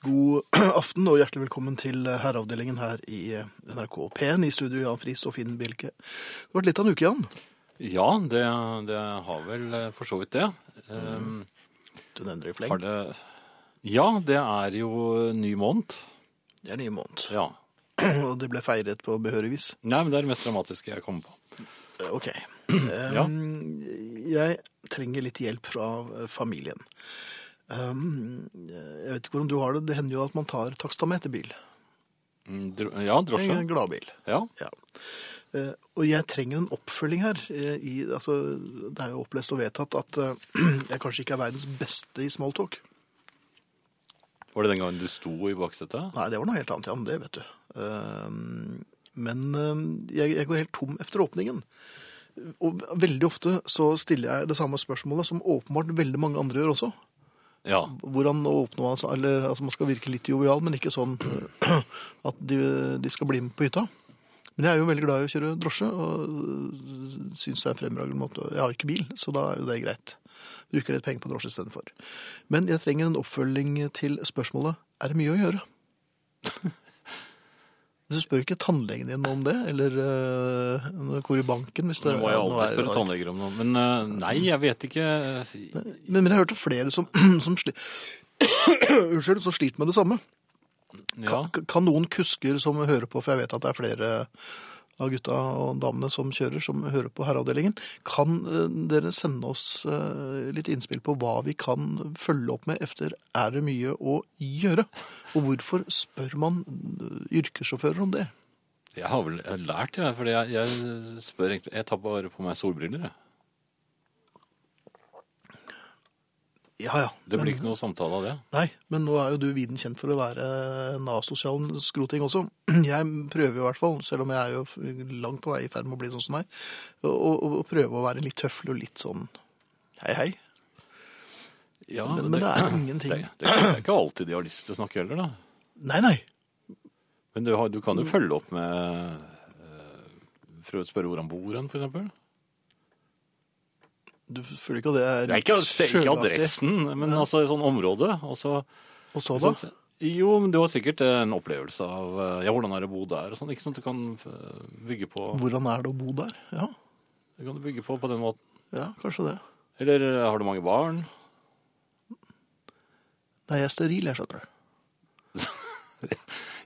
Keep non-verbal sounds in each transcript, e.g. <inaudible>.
God <clears throat> aften og hjertelig velkommen til eh, herreavdelingen her i eh, NRK P1 i studio Jan Friis og Finn Bjelke. Det har vært litt av en uke, Jan. Ja, det, det har vel eh, for så vidt det. Ehm, Du endrer i fleng. har det. Ja, det er jo ny måned. Det er ny måned. Ja. <clears throat> Og det ble feiret på behørig vis. Nei, men det er det mest dramatiske jeg kommer på. Eh, OK. <clears throat> Ja. Um, Jeg trenger litt hjelp fra eh, familien. Um, Jeg vet ikke hvordan du har det. Det hender jo at man tar takstameterbil. Mm, dro- Ja, drosje. En gladbil. Ja. Ja. Eh, Og jeg trenger en oppfølging her. eh, I, altså, det er jo opplest og vedtatt at eh, <clears throat> jeg kanskje ikke er verdens beste i smalltalk. Var det den gangen du sto i baksetet? Nei, det var noe helt annet, ja, men det vet du. Eh, Men eh, jeg, jeg går helt tom efter åpningen. Og veldig ofte så stiller jeg det samme spørsmålet som åpenbart veldig mange andre gjør også. Ja. Hvordan åpner man seg, eller altså man skal virke litt jovial, men ikke sånn <clears throat> eh, at de, de skal bli med på hytta. Men jeg er jo veldig glad i å kjøre drosje, og syns det er en fremragende måte. Jeg har jo ikke bil, så da er jo det greit. Bruker litt penger på drosje istedenfor. Men jeg trenger en oppfølging til spørsmålet er det mye å gjøre. <laughs> Du spør ikke tannlegen din om det, eller eh, når du går i banken. Hvis det Nå må jeg nå alltid er- spørre tannleger om noe. Men eh, nei, jeg vet ikke. Men, men jeg hørte flere som, <clears throat> som, sli... Unnskyld, som sliter med det samme. Ja. Kan, kan noen kusker som hører på, for jeg vet at det er flere av gutta og damene som kjører, som hører på herreavdelingen, kan eh, dere sende oss eh, litt innspill på hva vi kan følge opp med efter er det mye å gjøre? Og hvorfor spør man eh, yrkessjåfører om det? Jeg har vel lært, jeg. For jeg, jeg spør egentlig Jeg tar bare på meg solbriller, jeg. Ja, ja. Det blir ikke noe samtale av det. Nei, men nå er jo du viden kjent for å være en asosial skroting også. Jeg prøver jo i hvert fall, selv om jeg er jo langt på vei i ferd med å bli sånn som meg, å, å, å prøve å være litt tøffel og litt sånn hei, hei. Ja, Men- men det er ingenting. Det, det, det er ikke alltid de har lyst til å snakke heller, da. Nei, nei. Men du, har, du kan jo følge opp med eh, For å spørre hvor han bor hen, for eksempel. Du føler ikke at det er Det er ikke, se- ikke sjølaktig? adressen, men altså sånn område. Og så, Og så da? sånn, jo, men du har sikkert eh, en opplevelse av eh, Ja, hvordan er det å bo der og sånn. Ikke sant? Du kan eh, bygge på Hvordan er det å bo der? Ja, Du kan bygge på på den måten. ja kanskje det. Eller eh, har du mange barn? Nei, jeg er steril, jeg skjønner. det.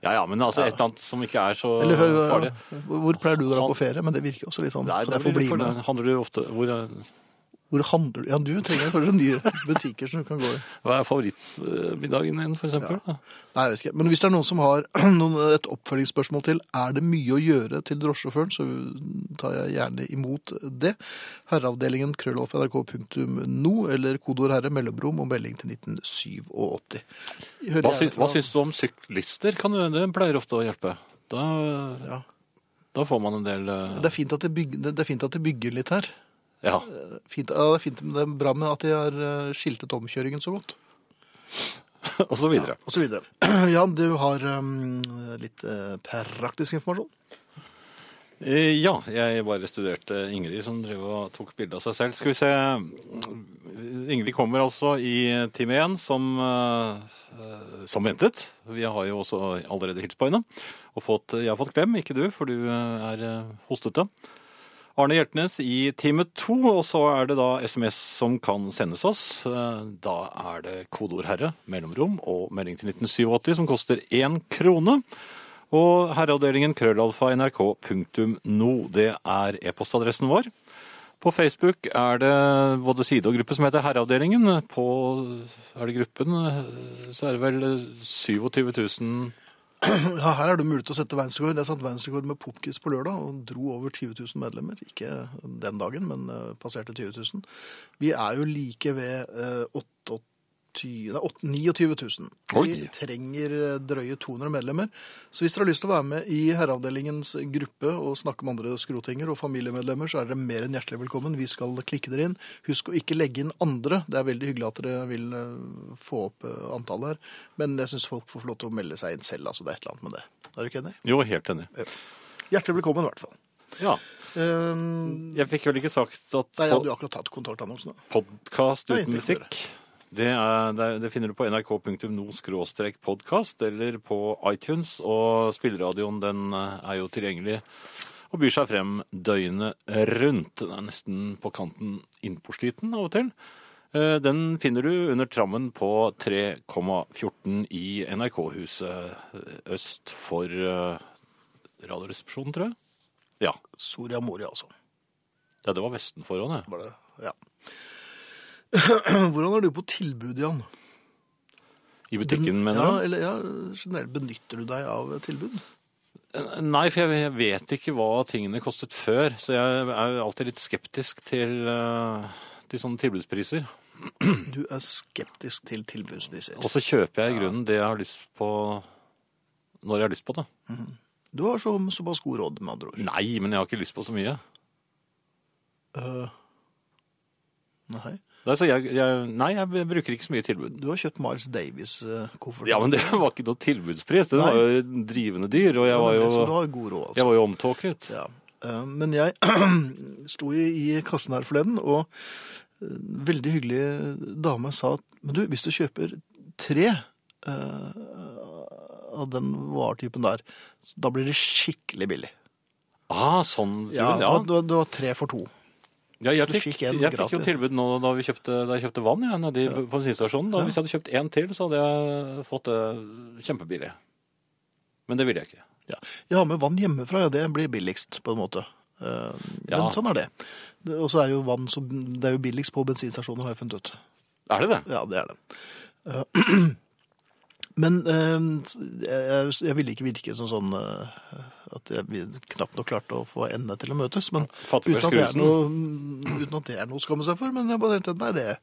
Ja ja, men altså et eller annet som ikke er så Eller eh, hør, farlig. hvor pleier du å dra Han- på ferie? Men det virker jo også litt sånn. Nei, kan det jeg få blir, bli for med? det handler jo ofte hvor, er- Hvor handler du? Ja, du trenger kanskje nye butikker som du kan gå i. Hva er favorittmiddagen din, for eksempel? da? Nei, jeg vet ikke. Men hvis det er noen som har <clears throat> noen, et oppfølgingsspørsmål til er det mye å gjøre til drosjesjåføren, så tar jeg gjerne imot det. Herreavdelingen krøllalf.nrk.no eller kodeord herre mellomrom og melding til 1987. Hører Hva, gjerne sy hva fra- syns du om syklister? Kan du, det pleier ofte å hjelpe. Da, Ja. da får man en del eh, Det er fint at de bygger, det er fint at de bygger litt her. Ja. <laughs> Fint, ja, det, er fint, det er bra med at de har eh, skiltet omkjøringen så godt. Og så videre. Og så videre. <clears throat> Jan, du har eh, litt eh, praktisk informasjon. Eh, Ja, jeg bare studerte Ingrid, som drev og tok bilde av seg selv. Skal vi se Ingrid kommer altså i time én, som, eh, som ventet. Vi har jo også allerede hilst på henne. Og fått, jeg har fått klem, ikke du, for du eh, er eh, hostete. Arne Hjeltnes i time to, og så er det da SMS som kan sendes oss. Eh, Da er det kodeord herre, mellomrom og melding til 1987 som koster én krone. Og herreavdelingen krøllalfa nrk.no, det er e-postadressen vår. På Facebook er det både side og gruppe som heter Herreavdelingen. På er det gruppen, eh, så er det vel eh, 27 000 <clears throat> Ja, her er det mulig til å sette verdensrekord. Jeg satte verdensrekord med popquiz på lørdag og dro over 20 000 medlemmer. Ikke eh, den dagen, men eh, passerte 20 000. Vi er jo like ved eh, 28 nei, åt- 29 000. Vi Oi. trenger eh, drøye 200 medlemmer. Så hvis dere har lyst til å være med i herreavdelingens gruppe og snakke med andre skrotinger og familiemedlemmer, så er dere mer enn hjertelig velkommen. Vi skal klikke dere inn. Husk å ikke legge inn andre. Det er veldig hyggelig at dere vil eh, få opp eh, antallet her. Men jeg syns folk får få lov til å melde seg inn selv. altså Det er et eller annet med det. Er du ikke enig? Jo, helt enig. Hjertelig velkommen, i hvert fall. Ja. Ehm, Jeg fikk vel ikke sagt at nei, jeg hadde jo akkurat tatt kontaktannonsen. da. podkast Nei, uten det kan musikk Det, er, det, er- det finner du på nrk.no-podkast eller på iTunes. Og spilleradioen den eh, er jo tilgjengelig og byr seg frem døgnet rundt. Den er nesten på kanten innpåsliten av og til. Eh, Den finner du under trammen på 3,14 i NRK-huset eh, øst for eh, Radioresepsjonen, tror jeg. Ja. Soria Moria, altså. ja, det var Vesten foran, jeg. Var det? Ja. <clears throat> Hvordan er du på tilbud, Jan? I butikken, mener ja, du? eller, ja, generelt benytter du deg av tilbud? Nei, for jeg vet ikke hva tingene kostet før, så jeg er jo alltid litt skeptisk til, eh, til sånne tilbudspriser. Du er skeptisk til tilbudspriser. Og så kjøper jeg i grunnen det jeg har lyst på når jeg har lyst på det. Du har så, såpass god råd, med andre ord. Nei, men jeg har ikke lyst på så mye. Eh, nei. Nei, så jeg, jeg, nei, jeg bruker ikke så mye tilbud. Du har kjøpt Miles eh, Davies-koffert. Ja, men det var ikke noe tilbudspris. Det var jo drivende dyr, og jeg var Så du jo, har god råd. altså. jeg var jo omtåket. Ja. Eh, Men jeg <clears throat> sto i, i kassen her forleden, og en veldig hyggelig dame sa at Men du, hvis du kjøper tre eh, av den varetypen der, så da blir det skikkelig billig. Ah, sånn, sier hun. det, Ja, var, det var tre for to. ja jeg, du fikk, fikk en jeg fikk jo gratis. tilbud nå da, vi kjøpte, da jeg kjøpte vann ja, nede i bensinstasjonen. Da, Hvis jeg hadde kjøpt én til, så hadde jeg fått det kjempebillig. Men det ville jeg ikke. Ja. Jeg har med vann hjemmefra, ja, det blir billigst, på en måte. Eh, Ja. Men sånn er det. Det- Og så er jo vann så, det er jo billigst på bensinstasjoner, har jeg funnet ut. Er det det? Ja, det er det. Eh, <clears throat> Men eh, jeg, jeg ville ikke virke som sånn eh, at jeg vil- knapt nok klarte å få endene til å møtes. Men uten Fattigberg at, det er Skruesen. noe, uten at det er noe å skamme seg for. Men jeg bare tenkte nei, det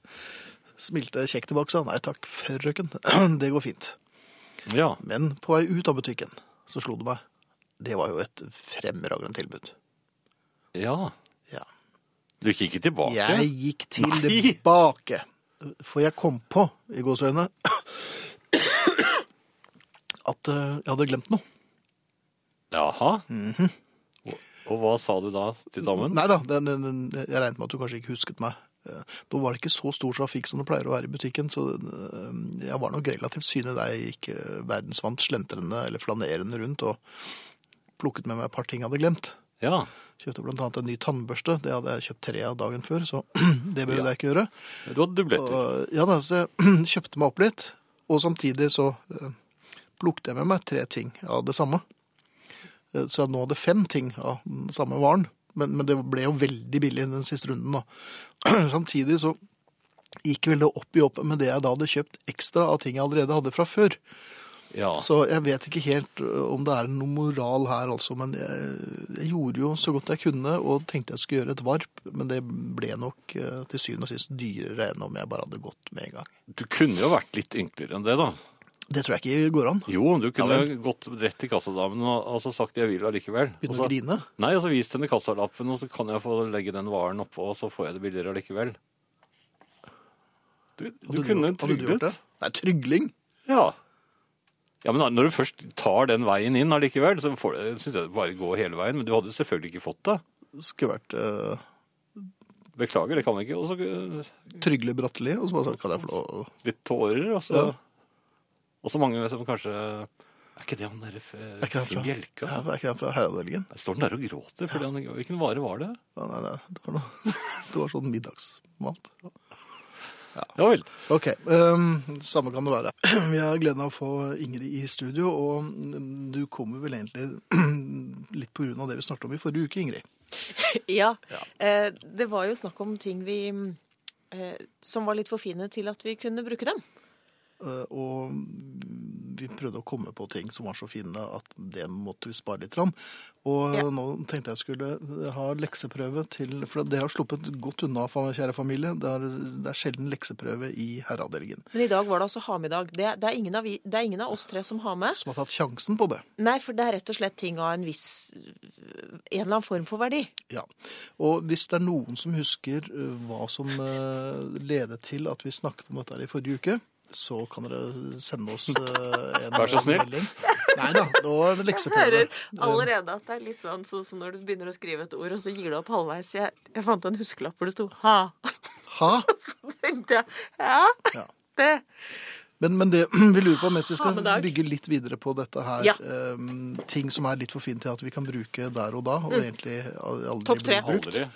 smilte kjekt tilbake. Sa nei takk, frøken. <clears throat> Det går fint. Ja. Men på vei ut av butikken så slo det meg. Det var jo et fremragende tilbud. ja. Ja. Du gikk ikke tilbake? Jeg gikk til Nei! tilbake. For jeg kom på, i gåsøgne, at eh, jeg hadde glemt noe. Jaha. og, og hva sa du da til damen? Mhm. Nei da, den, den, den, jeg regnet med at du kanskje ikke husket meg. Eh, Da var det ikke så stor trafikk som det pleier å være i butikken, så eh, jeg var nok relativt synlig da jeg gikk eh, verdensvant slentrende eller flanerende rundt og plukket med meg et par ting jeg hadde glemt. Ja. Kjøpte blant annet en ny tannbørste, det hadde jeg kjøpt tre av dagen før, så <clears throat> det behøvde jeg ikke gjøre. Du hadde dubletter. Og, ja, da, så jeg <clears throat> kjøpte meg opp litt, og samtidig så eh, plukket jeg med meg tre ting av det samme. Eh, Så jeg nå hadde fem ting av den samme varen, men, men det ble jo veldig billig den siste runden. Da. <clears throat> Samtidig så gikk vel det opp i opp med det jeg da hadde kjøpt ekstra av ting jeg allerede hadde fra før. Ja. Så jeg vet ikke helt ø, om det er noe moral her, altså. Men jeg, jeg gjorde jo så godt jeg kunne, og tenkte jeg skulle gjøre et varp. Men det ble nok ø, til syvende og sist dyrere enn om jeg bare hadde gått med en gang. Du kunne jo vært litt ynkeligere enn det, da. Det tror jeg ikke går an. Jo, du kunne gått rett til kassadamen og altså, sagt 'jeg vil allikevel'. Begynne Og å så- grine. Nei, altså vis henne kassalappen, og så kan jeg få legge den varen oppå, og så får jeg det billigere allikevel. Du, du Hadde kunne gjort- hadde du gjort tryglet. det? Nei, trygling? Ja. ja, men når du først tar den veien inn allikevel, så får du- synes jeg det bare gå hele veien. Men du hadde selvfølgelig ikke fått det. Skulle vært ø, Beklager, det kan jeg ikke. Og så øh, Trygle Bratteli, og så bare sagt kan jeg få lov å- litt tårer, og så Ja. Og så mange som kanskje Er ikke det han derre Er ikke han fra, Bjelka? ja, er ikke han fra Herreavdelingen? Står han der og gråter? Fordi han, hvilken vare var det? Nei, nei, nei. Det var, noe, <laughs> det var sånn middagsmat. Ja vel. Ok, ehm, samme kan det være. <clears throat> Vi har gleden av å få Ingrid i studio, og mm, du kommer vel egentlig <clears throat> litt på grunn av det vi snakket om i forrige uke, Ingrid. Ja. Eh, det var jo snakk om ting vi mm, eh, som var litt for fine til at vi kunne bruke dem. Eh, Og mm, vi prøvde å komme på ting som var så fine at det måtte vi spare litt. Rann. Og Ja. nå tenkte jeg skulle eh, ha lekseprøve til For dere har sluppet godt unna, fa- kjære familie. Det er, det er sjelden lekseprøve i herreavdelingen. Men i dag var det altså ha med i dag. Det, det, er ingen av vi, det er ingen av oss tre som har med. Som har tatt sjansen på det. Nei, for det er rett og slett ting av en viss øh, En eller annen form for verdi. Ja, og hvis det er noen som husker eh, hva som eh, ledet til at vi snakket om dette her i forrige uke, så kan dere sende oss eh, en Vær så snill. melding. Nei da, nå er det lekseprøve. Eh, Hører allerede at det er litt sånn, sånn som når du begynner å skrive et ord, og så gir du opp halvveis. <laughs> Jeg, jeg fant en huskelapp hvor det sto 'ha'. Ha? Så tenkte jeg ja. Ja. det. Men, men det <clears throat> vi lurer på mens vi Ha skal med dag. bygge litt videre på dette her, Ja. ehm, ting som er litt for fint til at vi kan bruke der og da, og egentlig aldri Mm. Topp tre. blir brukt. Aldri.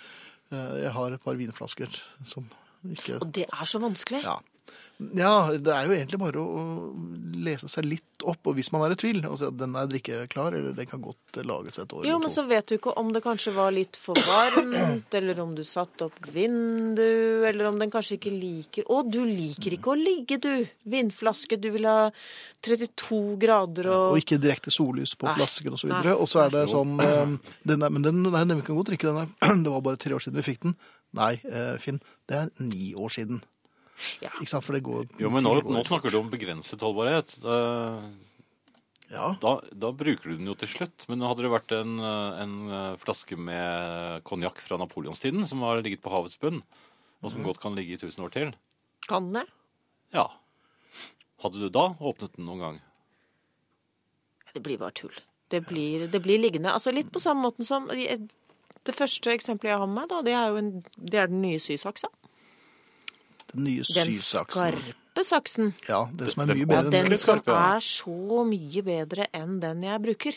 Eh, Jeg har et par vinflasker som ikke Og det er så vanskelig. ja. ja, det er jo egentlig bare å å lese seg litt opp, og hvis man er i tvil, og si at den er drikkeklar, eller den kan godt lages et år Jo, eller men to. så vet du ikke om det kanskje var litt for varmt, eller om du satte opp vindu, eller om den kanskje ikke liker Å, du liker ikke å ligge, du! Vindflaske, du vil ha 32 grader og, Og ikke direkte sollys på Nei. flasken osv. Nei. Og så er det sånn eh, den er, Men den, nei, den vi kan godt drikke, den er <clears throat> Det var bare tre år siden vi fikk den. Nei, eh, Finn, det er ni år siden. Ja. Ikke sant, for det går Jo, men nå, ti år. nå snakker du om begrenset holdbarhet. Eh, Ja. Da, da bruker du den jo til slutt. Men hadde det vært en, eh, en eh, flaske med konjakk fra napoleonstiden som har ligget på havets bunn, og som godt kan ligge i tusen år til, Kan det? ja. Hadde du da åpnet den noen gang? Det blir bare tull. Det blir, det blir liggende. Altså litt på samme måten som Det første eksempelet jeg har med meg, da, det er jo en, det er den nye sysaksa. Den nye Den sysaksen. skarpe saksen. Ja, det som er Den- mye Ja, bedre enn den veldig som skarp, ja. er så mye bedre enn den jeg bruker.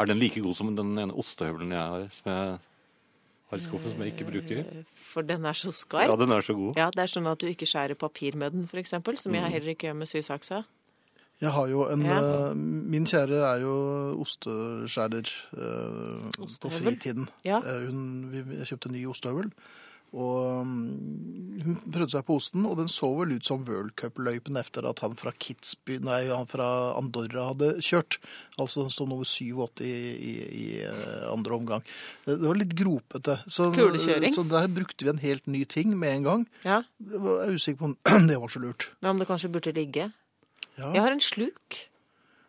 Er den like god som den ene ostehøvelen jeg har, som jeg har i skuffen, som jeg ikke bruker? For den er så Ja, skarp. den er så god. Eh, Ja, Det er sånn at du ikke skjærer papir med den, f.eks., som jeg heller ikke gjør med sysaksa. Jeg har jo en Ja. eh, Min kjære er jo osteskjærer eh, på Ostehøvel? fritiden. Ja. Eh, hun vi, jeg kjøpte en ny ostehøvel. Og mm, hun prøvde seg på osten, og den så vel ut som World Cup-løypen etter at han fra Kitzby, nei, han fra Andorra hadde kjørt. Altså som nummer 87 i, i, i eh, andre omgang. Det det var litt gropete. Så, eh, Kulekjøring. Så der brukte vi en helt ny ting med en gang. Ja, Det var- Jeg er usikker på om <clears throat> det var så lurt. Men om det kanskje burde ligge. Ja. Jeg har en sluk.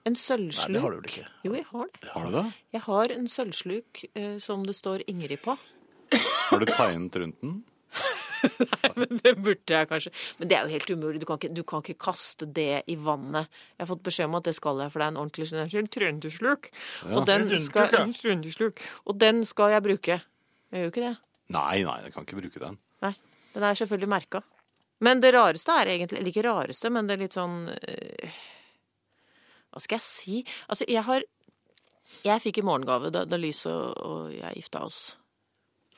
En Nei, sølvsluk. det har du vel ikke. Jo, jeg har det. Har du det? Jeg har en sølvsluk eh, som det står Ingrid på. Har du tegnet rundt den? <laughs> Men det burde jeg kanskje. Men det er jo helt umulig. Du kan, ikke, du kan ikke kaste det i vannet. Jeg har fått beskjed om at det skal jeg, for det er en ordentlig generell trøndersluk. Ja, og, den det er trøndersluk, skal, ja. en trøndersluk. og den skal jeg bruke. Jeg gjør jo ikke det. Nei, nei, jeg kan ikke bruke den. Nei. Den er selvfølgelig merka. Men det rareste er egentlig Eller ikke rareste, men det er litt sånn øh, Hva skal jeg si? Altså, jeg har Jeg fikk i morgengave da, da Lys og, og jeg gifta oss.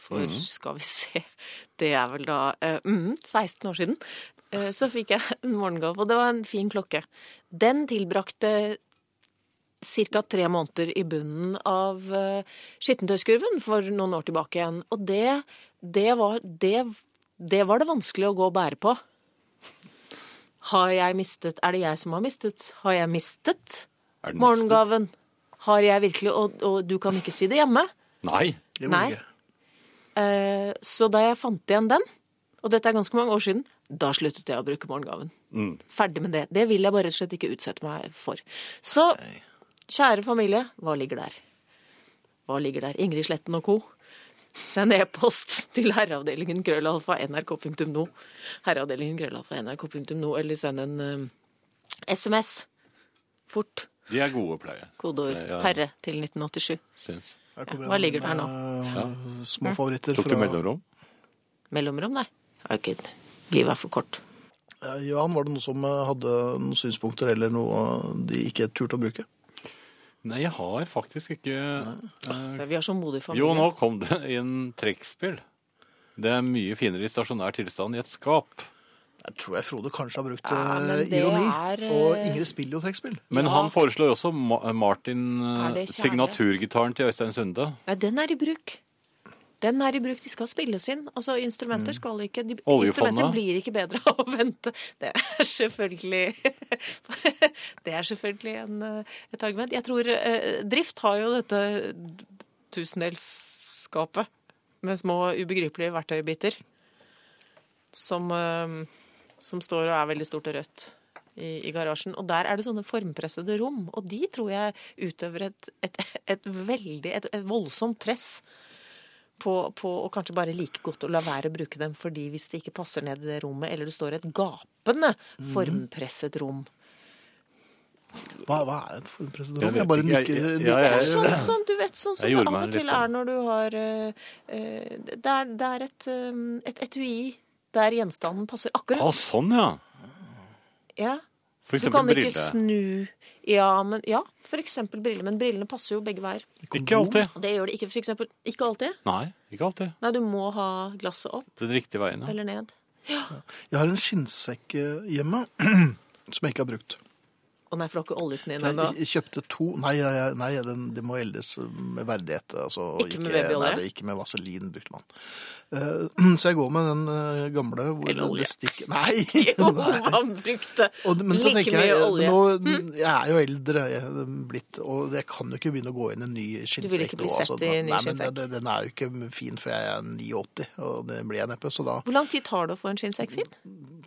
For skal vi se Det er vel da eh, mm, 16 år siden. Eh, så fikk jeg en morgengave, og det var en fin klokke. Den tilbrakte ca. tre måneder i bunnen av eh, skittentøyskurven for noen år tilbake igjen. Og det, det, var, det, det var det vanskelig å gå og bære på. Har jeg mistet Er det jeg som har mistet? Har jeg mistet Er den morgengaven? Har jeg virkelig Og, og du kan ikke si det hjemme. Nei. Det var Nei. ikke. Eh, så da jeg fant igjen den, og dette er ganske mange år siden, da sluttet jeg å bruke morgengaven. Mm. Ferdig med det. Det vil jeg bare rett og slett ikke utsette meg for. Så kjære familie, hva ligger der? Hva ligger der? Ingrid Sletten og co. Send e-post til herreavdelingen krøllalfa nrk.no. Herreavdelingen krøllalfa nrk.no, eller send en eh, SMS. Fort. De er gode å pleie. Eh, Kodeord Ja, ja. 'herre' til 1987. Syns. Her kommer Hva en, ligger det her nå? Mm. eh, Små favoritter Tok du fra mellomrom? Mellomrom, nei. Ja, ikke- Livet er for kort. Eh, Jan, var det noen som eh, hadde noen synspunkter eller noe de ikke turte å bruke? Nei, jeg har faktisk ikke eh, Vi har så modig familie. Jo, nå kom det inn trekkspill. Det er mye finere i stasjonær tilstand i et skap. Jeg tror jeg Frode kanskje har brukt Ja, men eh, det ironi. er, eh, Og Ingrid spiller jo trekkspill. Men Ja. han foreslår også Ma- Martin eh, Er det kjærlighet? signaturgitaren til Øystein Sunde. Nei, den er i bruk. Den er i bruk. De skal spilles inn. Altså, instrumenter skal ikke de, Oljefondet. Instrumenter blir ikke bedre av å vente. Det er selvfølgelig <laughs> Det er selvfølgelig en, eh, et argument. Jeg tror eh, Drift har jo dette tusendelsskapet med små ubegripelige verktøybiter som, eh, som står og er veldig stort og rødt. I, I garasjen, Og der er det sånne formpressede rom, og de tror jeg utøver et, et, et veldig, et, et voldsomt press på, på å kanskje bare like godt å la være å bruke dem, fordi hvis det ikke passer ned i det rommet, eller det står et gapende Mhm. formpresset rom Hva, hva er det for en Jeg president? vet Jeg bare ikke, jeg- nikker. jeg- nikker. jeg- Det er sånn som du vet, sånn som Jeg det gjorde av meg og litt til er når du har eh, eh, Det er, det er et, eh, et etui der gjenstanden passer Å, akkurat. sånn, ja! ja. For Du eksempel kan ikke brille. snu Ja, men, ja for eksempel briller. Men brillene passer jo begge veier. Ikke alltid. Det gjør det ikke, for eksempel. Ikke alltid. Nei, ikke alltid. Nei, du må ha glasset opp Den riktige veien, ja. eller ned. Jeg har en skinnsekk eh, hjemme <clears throat> som jeg ikke har brukt. Å nei, for du har ikke oljet den inn Jeg, ennå. jeg kjøpte to Nei, jeg- nei den, det må eldes med verdighet. Altså, Ikke med babyolje? Nei, det er ikke med vaselin, brukte man. Eh, <clears throat> så jeg går med den eh, gamle hvor det Eller olje. stikk- Nei! <laughs> Jo, <laughs> nei. han brukte Og, men så like tenker jeg, eh, mye olje. Hm? nå, jeg er jo eldre jeg er blitt, og jeg kan jo ikke begynne å gå inn i en ny skinnsekk. vil ikke bli nå, altså. sett i en nei, ny men skinnsekk. den- Den er jo ikke fin før jeg er 89, og det blir jeg neppe. Så da Hvor lang tid tar det å få en skinnsekk fin?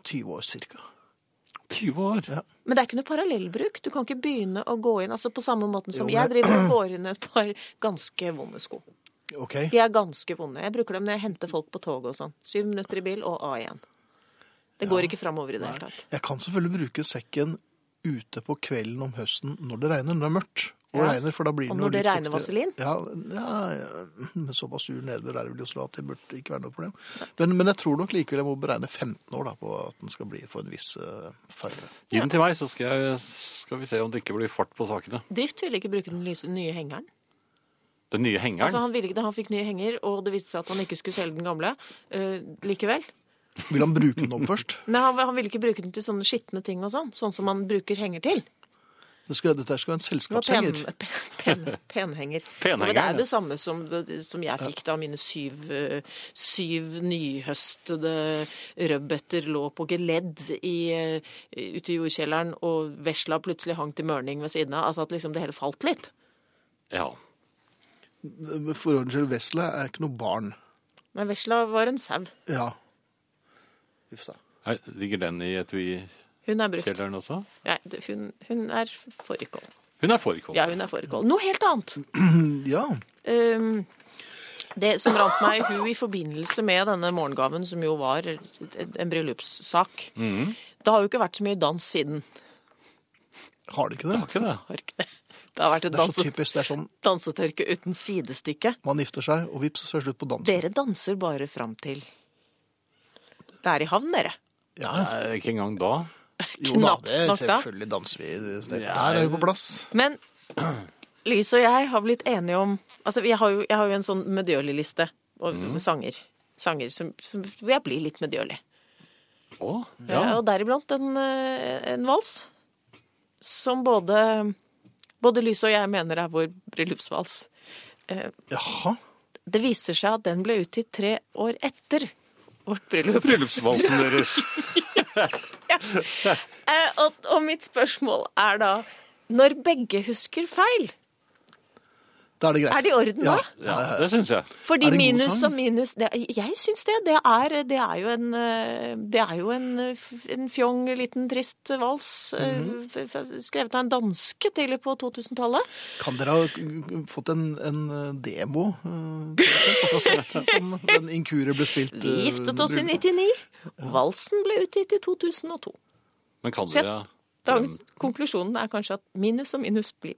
20 år cirka. 20 år. Men det er ikke noe parallellbruk. Du kan ikke begynne å gå inn altså på samme måten som Jo, men- Jeg driver og går inn i et par ganske vonde sko. Ok. De er ganske vonde. Jeg bruker dem når jeg henter folk på toget og sånn. Syv minutter i bil og av igjen. Det går ikke framover i det hele tatt. Jeg kan selvfølgelig bruke sekken ute på kvelden om høsten når det regner, når det er mørkt. Og Ja. regner, for da blir den Og jo når det litt regner fuktig. vaselin? Ja, ja, ja, men såpass sur nedbør er det vel i Oslo at det burde ikke være noe problem. Men, men jeg tror nok likevel jeg må beregne 15 år da, på at den skal bli få en viss eh, farge. Gi den til meg, så skal, jeg, skal vi se om det ikke blir fart på sakene. Drift ville ikke bruke den lyse, nye hengeren. Den nye hengeren. Altså, han ville ikke det. Han fikk nye henger, og det viste seg at han ikke skulle selge den gamle eh, likevel. Vil han bruke den opp først? Nei, han, han ville ikke bruke den til sånne skitne ting og sånn. Sånn som man bruker henger til. Det skal, dette her skal være en Det var pen, <laughs> selskapshenger. pen, pen, penhenger. Penhenger, Men det er ja. det samme som, det, som jeg fikk da mine syv, eh, syv nyhøstede rødbeter lå på geledd i, eh, ute i jordkjelleren, og vesla plutselig hang til mørning ved siden av. Altså at liksom det hele falt litt. Ja. For ordens skyld, Vesla er ikke noe barn. Men vesla var en sau. Ja. Uff da. Nei, Ligger den i etui-kjelleren Hun er brukt. også? Nei, det- hun, hun er fårikål. Hun er fårikål. Ja, hun er fårikål. Noe helt annet. Ja. Ehm, det som rant meg i hu i forbindelse med denne morgengaven, som jo var en bryllupssak Mm. Det har jo ikke vært så mye dans siden. Har det ikke det? Har ikke det? Har ikke Det Det har vært et Det er så danse, typisk. Det er sånn dansetørke uten sidestykke. man gifter seg, og vips, så er det slutt på dansen. Dere danser bare fram til Det er i havn, dere. Ja, Nei, ikke engang da. jo da, Knapt det nok da. selvfølgelig danser vi. Der er vi på plass. Men Lise og jeg har blitt enige om Altså, jeg har jo, jeg har jo en sånn medgjørlig-liste og- Mm. med sanger. Sanger som, som hvor jeg blir litt medgjørlig. Å, ja. Ja. Og deriblant en, eh, en vals som både, både Lyse og jeg mener er vår bryllupsvals. Jaha. Det viser seg at den ble utgitt tre år etter vårt bryllup. Bryllupsvalsen deres. Eh, og, og mitt spørsmål er da når begge husker feil, Da er det greit. er det i orden da? Ja. Ja, det syns jeg. Fordi Er det en god minus sang? og minus det, Jeg syns det. Det er, det er jo en eh, Det er jo en, eh, f- en fjong, liten, trist vals eh, Mhm. f- f- skrevet av en danske tidlig på 2000-tallet. Kan dere ha k- fått en, en demo eh, til seg på kassett som den inkurie ble spilt? Vi eh, giftet oss i bryllup? 99. Valsen ble utgitt i 2002. Men kan Se. dere Dagens konklusjonen er kanskje at minus og minus blir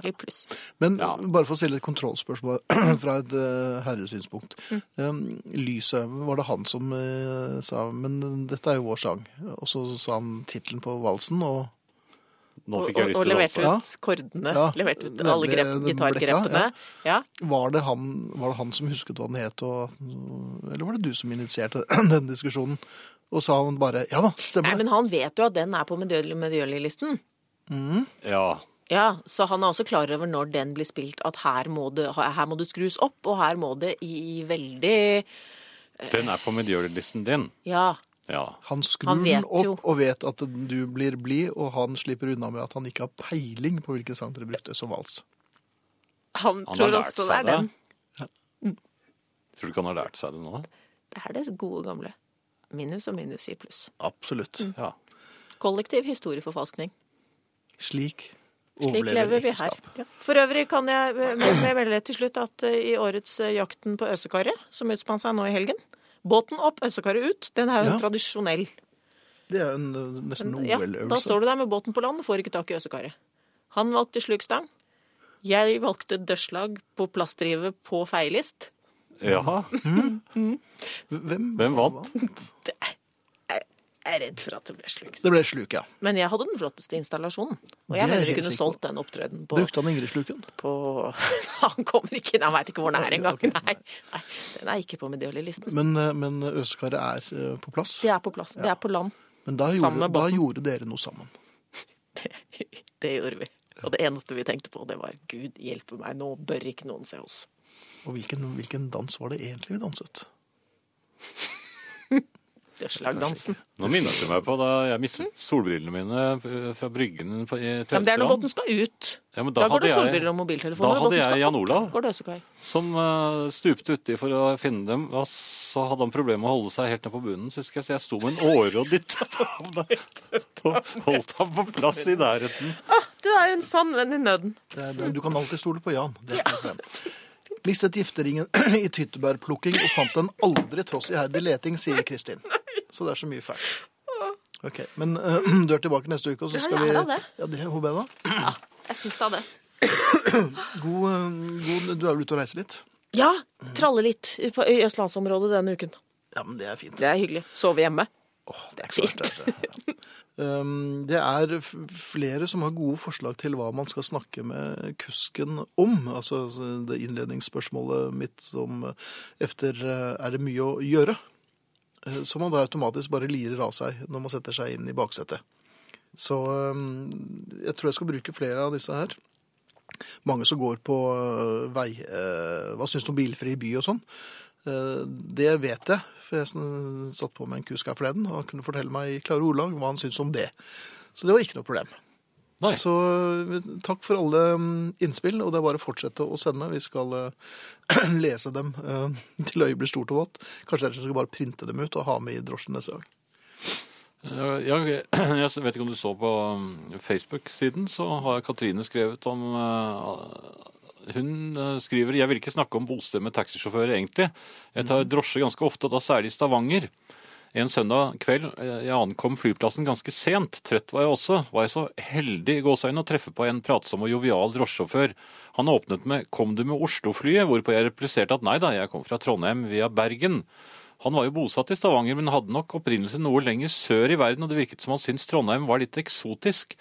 blir pluss. Men Ja. bare for å stille et kontrollspørsmål <clears throat> fra et eh, herresynspunkt. Mm. Um, Lyset, var det han som eh, sa Men dette er jo vår sang. Og så sa han tittelen på valsen, og Nå Og, fikk jeg og, lyst og til å leverte danse. Ja. ut kordene, Ja, leverte ut nemlig alle grep, den gitargrepene. blekka, Ja. var det, han, var det han som husket hva den het, og, eller var det du som initierte <clears throat> den diskusjonen? Og sa han bare Ja da, Nei, stemmer det. men han vet jo at den er på medgjørlig-listen. Ja. Ja, så han er også klar over når den blir spilt, at her må det, her må det skrus opp, og her må det i veldig Den er på medgjørlisten din. Ja. Ja. Han skrur Han vet den opp jo. og vet at du blir blid, og han slipper unna med at han ikke har peiling på hvilken sang dere brukte som vals. Han, har tror lært også det seg er den. Tror du ikke han har lært seg det nå? Det er det gode gamle. Minus og minus gir pluss. Absolutt. Mm. Ja. Kollektiv historieforfalskning. Slik Slik overlever lever vi her. ekteskap. Ja. For øvrig kan jeg eh, med- med melde til slutt at eh, i årets eh, Jakten på øsekaret, som utspant seg nå i helgen Båten opp, øsekaret ut. Den er jo Ja. en tradisjonell. Det er jo en, eh, nesten en Ja, da OL-øvelse. står du der med båten på land og får ikke tak i øsekaret. Han valgte slugstang. Jeg valgte dørslag på plastdrivet på feilist. ja. Hvem? Hvem vant? Jeg er redd for at det ble slukt. Det ble sluk, ja. Men jeg hadde den flotteste installasjonen. Og Det er jeg mener jeg du helt kunne sikker på. solgt den opptredenen på, Brukte han Ingrid-sluken? på <laughs> Han kommer ikke inn, han veit ikke hvor den er engang. Ok. Nei, nei, den er ikke på medaljelisten. Men, eh, men øskaret er eh, på plass. Det er på plass. Det er på land. <laughs> Men da gjorde, Samme da båten. gjorde dere noe sammen. Det, det gjorde vi. Og det eneste vi tenkte på, det var Gud hjelpe meg, nå bør ikke noen se oss. Og hvilken, hvilken dans var det egentlig vi danset? Dørslagdansen. Nå minnet du meg på da jeg mistet solbrillene mine eh, fra bryggen på, i Ja, men det er Trausteland. når båten skal ut. Ja, men Da, går hadde det jeg- solbriller og Da mobiltelefoner. hadde Båten skal jeg Jan opp, Olav, Går det øsekvei. som eh, stupte uti for å finne dem. Og så hadde han problemer med å holde seg helt ned på bunnen, så husker jeg. Så jeg sto med en åre og dytta <laughs> på ham der. Og holdt ham på plass i nærheten. Du er en sann venn i nøden. Det er, eh, du kan alltid stole på Jan. Det er ikke <laughs> noe problem. Mistet gifteringen <clears throat> i tyttebærplukking og fant den aldri tross iherdig leting, sier <laughs> Kristin. Så det er så mye fælt. Ok, Men eh, <clears throat> du er tilbake neste uke, og så Ja, skal vi jeg er da det. Ja, det er hun Benna. Jeg syns da det. God, eh, god Du er vel ute og reiser litt? Ja, tralle litt på- i østlandsområdet denne uken. Ja, men det er fint. Det er hyggelig. Sove hjemme. Åh, det er ikke så verst, altså. <laughs> Um, det er f- flere som har gode forslag til hva man skal snakke med kusken om. Altså altså, det innledningsspørsmålet mitt som eh, efter eh, er det mye å gjøre? Eh, Som man da automatisk bare lirer av seg når man setter seg inn i baksetet. Så um, jeg tror jeg skal bruke flere av disse her. Mange som går på eh, vei eh, Hva syns du om bilfri by og sånn? Eh, Det vet jeg, for jeg sn- satt på med en kusk her forleden, og han kunne fortelle meg i klare ordlag hva han syntes om det. Så det var ikke noe problem. Nei. Så eh, takk for alle mm, innspill, og det er bare å fortsette å sende. Vi skal eh, <clears throat> lese dem eh, til øyet blir stort og vått. Kanskje dere skal bare printe dem ut og ha med i drosjen neste gang. Eh, ja, jeg <clears throat> vet ikke om du så på um, Facebook-siden, så har Katrine skrevet om eh, Hun eh, skriver jeg vil ikke snakke om bosted med taxisjåfører, egentlig. Jeg tar drosje ganske ofte, og da særlig i Stavanger. En søndag kveld eh, jeg ankom flyplassen ganske sent, trøtt var jeg også, var jeg så heldig i gåseøynene å treffe på en pratsom og jovial drosjesjåfør. Han åpnet med 'Kom du med Oslo-flyet?', hvorpå jeg repliserte at nei da, jeg kom fra Trondheim via Bergen. Han var jo bosatt i Stavanger, men hadde nok opprinnelse noe lenger sør i verden, og det virket som han syntes Trondheim var litt eksotisk.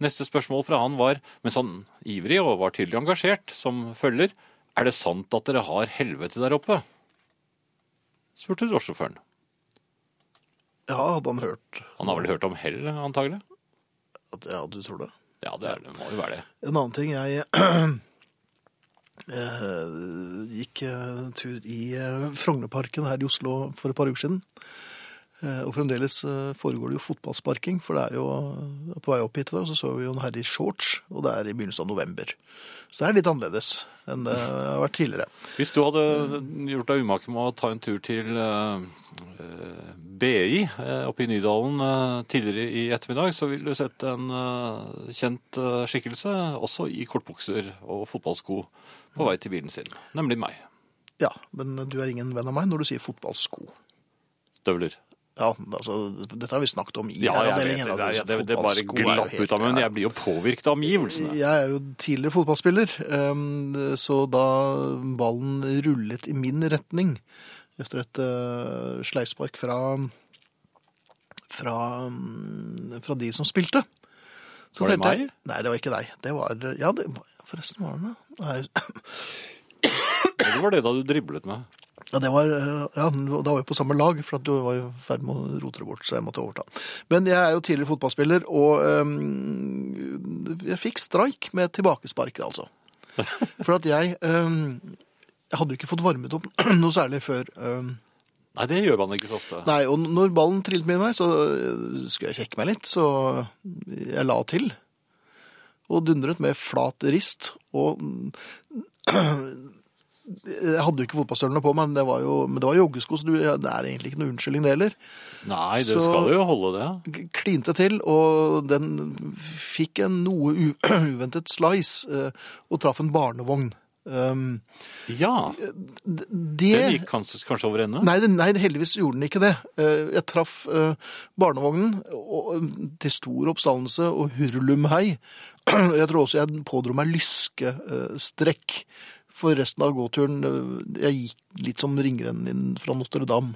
Neste spørsmål fra han var, mens han ivrig og var tydelig engasjert, som følger Er det sant at dere har helvete der oppe? spurte drosjesjåføren. Ja, hadde han hørt Han har vel hørt om hell, antagelig? at Ja, du tror det. Ja, det, er, det må jo være det. En annen ting jeg <clears throat> eh, gikk eh, tur i eh, Frognerparken her i Oslo for et par uker siden. Eh, og fremdeles eh, foregår det jo fotballsparking, for det er jo eh, på vei opp hit i dag, så så vi jo en herre i shorts, og det er i begynnelsen av november. Så det er litt annerledes enn det har vært tidligere. Hvis du hadde gjort deg umake med å ta en tur til eh, eh, BI eh, oppe i Nydalen eh, tidligere i ettermiddag, så ville du sett en eh, kjent eh, skikkelse, også i kortbukser og fotballsko, på vei til bilen sin. Nemlig meg. Ja, men du er ingen venn av meg når du sier fotballsko. Støvler. Ja, altså, dette har vi snakket om i Ja, jeg vet herreavdelingen. det. Det, at er- det, det bare fotballsko er jo glapp helt- ut av munnen. Ja. Jeg blir jo påvirket av omgivelsene. Jeg er jo tidligere fotballspiller, ehm, så da ballen rullet i min retning etter et eh, sleivspark fra, fra, mm, fra de som spilte så Var det tenkte jeg- meg? Nei, det var ikke deg. Det var Ja, det var, forresten var det meg. Nei, Det var det da du driblet med. Ja, det var, eh, ja, da var vi på samme lag, for at du var jo i ferd med å rote det bort, så jeg måtte overta. Men jeg er jo tidligere fotballspiller, og eh, jeg fikk streik med tilbakespark, altså. For at jeg, eh, jeg hadde jo ikke fått varmet opp <clears throat> noe særlig før. eh, Nei, det gjør man ikke så ofte. nei, og når ballen trillet min vei, så eh, skulle jeg kjekke meg litt, så jeg la til. Og dundret med flat rist, og jeg hadde jo ikke fotballstøvlene på meg, men det var jo, men det var joggesko, så du, ja, det er egentlig ikke noe unnskyldning det heller. Nei, det Så- skal jo holde, det. K- Klinte til, og den fikk en noe u <clears throat> uventet slice, eh, og traff en barnevogn. Um, Ja. d- Den det gikk kanskje, kanskje over ende? Eh. Nei, det- nei, heldigvis gjorde den ikke det. Eh, Jeg traff eh, barnevognen og, og- til stor oppstandelse og hurlumhei. <clears throat> Jeg tror også jeg pådro meg lyskestrekk for resten av gåturen. Eh, Jeg gikk litt som ringrennen inn fra Notre Dame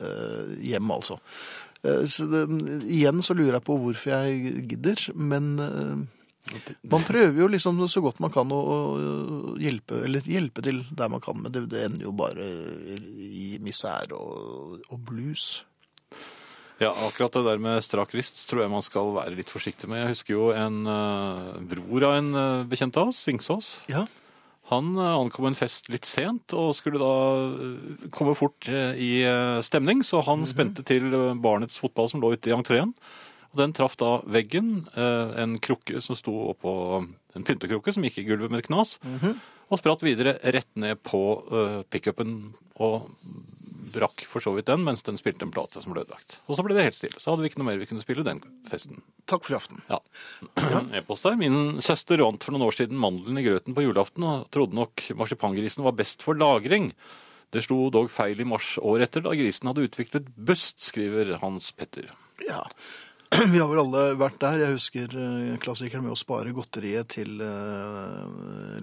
eh, hjem, altså. Eh, Så det, igjen så lurer jeg på hvorfor jeg gidder, men eh, man prøver jo liksom så godt man kan å, å hjelpe, eller hjelpe til der man kan, men det, det ender jo bare i misær og, og blues. Ja, akkurat det der med strak rist tror jeg man skal være litt forsiktig med. Jeg husker jo en eh, bror av en eh, bekjent av oss, Singsås. Ja, Han eh, ankom en fest litt sent og skulle da eh, komme fort eh, i eh, stemning, så han spente til eh, barnets fotball som lå ute i entreen. Og den traff da veggen, eh, en krukke som sto oppå eh, en pyntekrukke som gikk i gulvet med et knas, og spratt videre rett ned på eh, pickupen og brakk for så vidt den, mens den spilte en plate som ble ødelagt. Og så ble det helt stille. Så hadde vi ikke noe mer vi kunne spille den festen. takk for i aften. Ja. <clears throat> En E-post der. Min søster vant for noen år siden mandelen i grøten på julaften og trodde nok marsipangrisen var best for lagring. Det slo dog feil i mars året etter, da grisen hadde utviklet bust, skriver Hans Petter. Ja. <clears throat> Vi har vel alle vært der. Jeg husker eh, klassikeren med å spare godteriet til eh,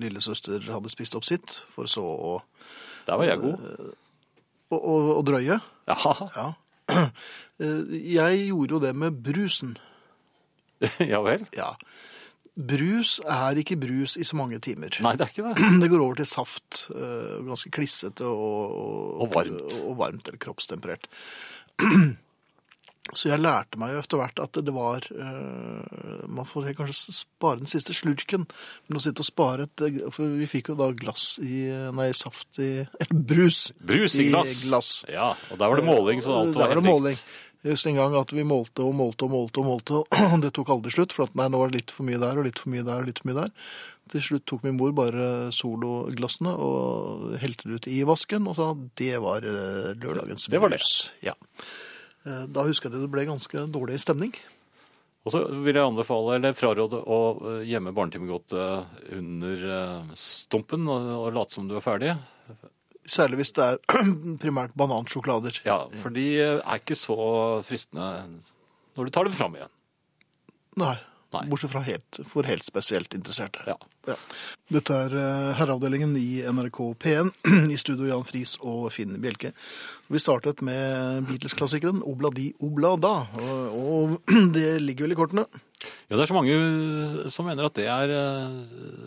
lillesøster hadde spist opp sitt, for så å, Der var jeg god. å, å, å drøye. Ja, Ja. <clears throat> Eh, Jeg gjorde jo det med brusen. <laughs> ja vel. Ja. Brus er ikke brus i så mange timer. Nei, det er ikke det. Det går over til saft, eh, ganske klissete og, Og varmt. Og varmt, eller kroppstemperert. <clears throat> Så jeg lærte meg jo etter hvert at det var eh, Man får kanskje spare den siste slurken, men å sitte og spare et eh, For vi fikk jo da glass i eh, Nei, saft <clears throat> i <laughs> Eller brus. Brus i glass. glass. Ja, og der var det måling, så alt var Der var helt det måling. likt. Jeg husker en gang at vi målte og målte og målte, og målte, og <clears throat> det tok aldri slutt. For at nei, nå var det litt for mye der og litt for mye der og litt for mye der. Til slutt tok min mor bare sologlassene og helte det ut i vasken og sa det var eh, lørdagens Det var det. brus. Ja. Eh, Da husker jeg det ble ganske dårlig stemning. Og så vil jeg anbefale, eller fraråde, å eh, gjemme barnetimegodt eh, under eh, stumpen og og late som du er ferdig. Særlig hvis det er <clears throat> primært banansjokolader. Ja, for de eh, er ikke så fristende når du tar dem fram igjen. Nei. Nei. Bortsett fra helt, for helt spesielt interesserte. Ja. Ja. Dette er eh, herreavdelingen i NRK P1, <clears throat> i studio Jan Friis og Finn Bjelke. Vi startet med Beatles-klassikeren Obladi Oblada, og, og <clears throat> det ligger vel i kortene. Ja, det er så mange som mener at det er eh,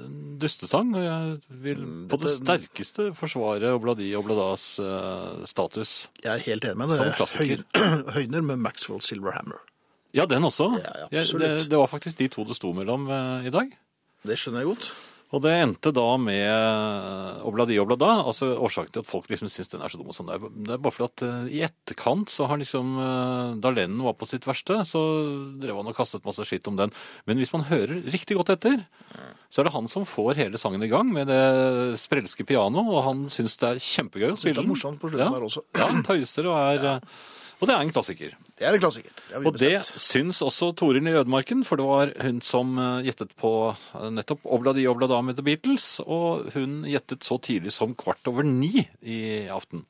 en dustesang, og jeg vil på det sterkeste forsvare Obladi Obladas eh, status. Jeg er helt enig med det. Som klassiker. Høy- <clears throat> Høyner med Maxwell Silverhammer. Ja, den også. Ja, ja, Jeg- det, absolutt. det var faktisk de to det sto mellom eh, i dag. Det skjønner jeg godt. Og det endte da eh, med Obladi Oblada, altså årsaken til at folk liksom syns den er så dum og sånn. Det er det er bare fordi at eh, i etterkant så har liksom eh, Da Lennon var på sitt verste, så drev han og kastet masse skitt om den. Men hvis man hører riktig godt etter, så er det han som får hele sangen i gang med det sprelske pianoet, og han syns det er kjempegøy å Det spille er morsomt på slutten ja. her også. Ja, han tøyser og er eh, Og det er en klassiker. Det er en klassiker. Det har vi Og det bestemt. syns også Toril i Ødemarken, for det var hun som eh, gjettet på eh, nettopp Obladi Oblada med The Beatles, og hun gjettet så tidlig som kvart over ni i aften.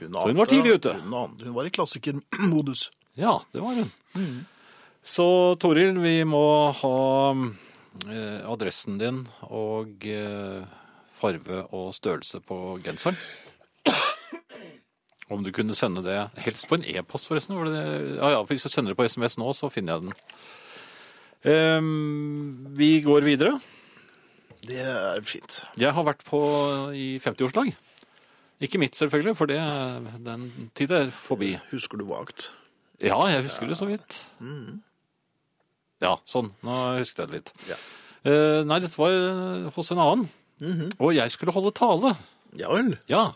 så hun var ante- tidlig ute. Hun, ante- hun var i klassikermodus. Ja, det var hun. Så Toril, vi må ha eh, adressen din og eh, farve og størrelse på genseren. Om du kunne sende det helst på en e-post, forresten. Var det det? Ja, ja, for hvis du sender det på SMS nå, så finner jeg den. Ehm, vi går videre. Det er fint. Jeg har vært på i 50-årslag. Ikke mitt, selvfølgelig, for det, den tid er forbi. Husker du vagt? Ja, jeg husker det så vidt. Ja, sånn. Nå husket jeg det litt. Mm. Ja. Eh, nei, dette var eh, hos en annen. Mm-hmm. Og jeg skulle holde tale. Ja vel. Ja.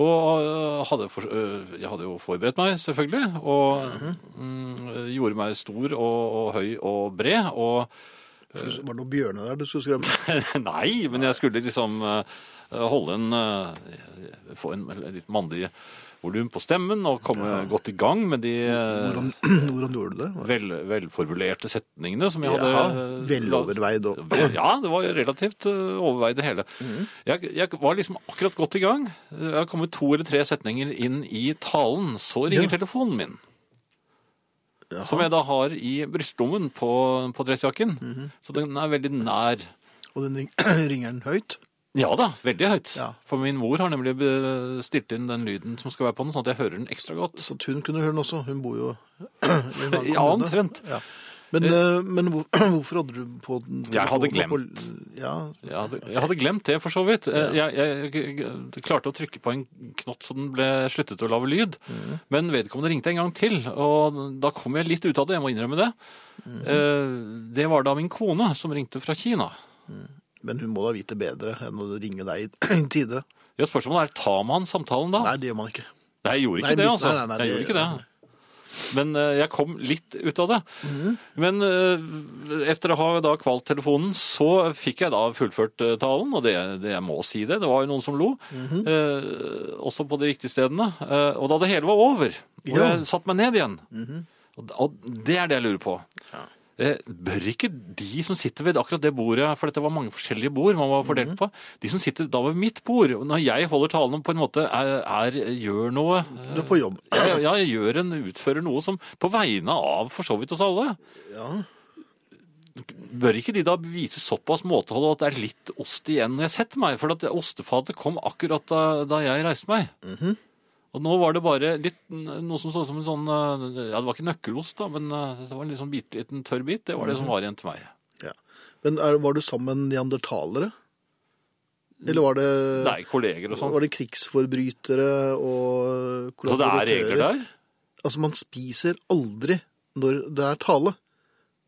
Og eh, hadde for, eh, jeg hadde jo forberedt meg, selvfølgelig. Og Mm-hmm. mm, gjorde meg stor og, og høy og bred. Og <laughs> Eh. Var det noen bjørne der du skulle skremme? <clears throat> Nei, men jeg skulle liksom eh, holde en eh, Få en litt mandig volum på stemmen og komme godt i gang med de eh, Hvordan, hvordan gjorde du det? vel, velformulerte setningene som jeg hadde Jaha, eh, veloverveid og la- Ja, det var relativt eh, overveid det hele. Mm. Jeg, jeg var liksom akkurat godt i gang. Jeg har kommet to eller tre setninger inn i talen. Så ringer Ja. telefonen min, Jaha. som jeg da har i brystlommen Mhm. på, på dressjakken. Så den er veldig nær. Og den ring- <clears throat> ringer den høyt. Ja da, veldig høyt. Ja. For min mor har nemlig be- stilt inn den lyden som skal være på den, sånn at jeg hører den ekstra godt. Så at hun kunne høre den også. Hun bor jo <clears throat> i en annen Ja, kommune. omtrent. Ja. Men, eh, men hvor, <clears throat> hvorfor hadde du på den? Jeg hadde telefonen På, ja, Jeg hadde, jeg hadde glemt det, for så vidt. Eh, Jeg, jeg, jeg, jeg klarte å trykke på en knott så den ble sluttet å lage lyd. Men vedkommende ringte en gang til, og da kom jeg litt ut av det. Jeg må innrømme det. Eh, Det var da min kone som ringte fra Kina. men hun må da vite bedre enn å ringe deg i <clears throat> i tide. Ja, spørsmålet er, tar man samtalen da? Nei, det gjør man ikke. Nei, jeg gjorde ikke Nei, det, mitt- altså. nei, nei, nei, jeg det- gjorde ikke det. Men eh, jeg kom litt ut av det. Mhm. Men eh, etter å ha da kvalt telefonen, så fikk jeg da fullført eh, talen, og det, det jeg må si det, det var jo noen som lo, Mhm. eh, også på de riktige stedene. Eh, og da det hele var over, og Ja. jeg satt meg ned igjen, Mhm. og, og det er det jeg lurer på. Eh, Bør ikke de som sitter ved akkurat det bordet, for dette var mange forskjellige bord man var Mhm. fordelt på, de som sitter da ved mitt bord, når jeg holder talen og på en måte, er, er, gjør noe eh, Du er på jobb. ja, ja, ja, jeg gjør en, utfører noe som på vegne av for så vidt oss alle. Ja. Bør ikke de da vise såpass måtehold at det er litt ost igjen når jeg setter meg? For at ostefatet kom akkurat da, da jeg reiste meg. Og nå var det bare litt, noe som så ut som en sånn eh, Ja, det var ikke nøkkelost, da, men eh, det var en liksom bit, liten tørr bit. Det var det som var igjen til meg. Ja. Men er, var du sammen med neandertalere? Eller var det, Mm. Nei, kolleger og sånn. var det krigsforbrytere og Så det er regler der? Altså, man spiser aldri når det er tale.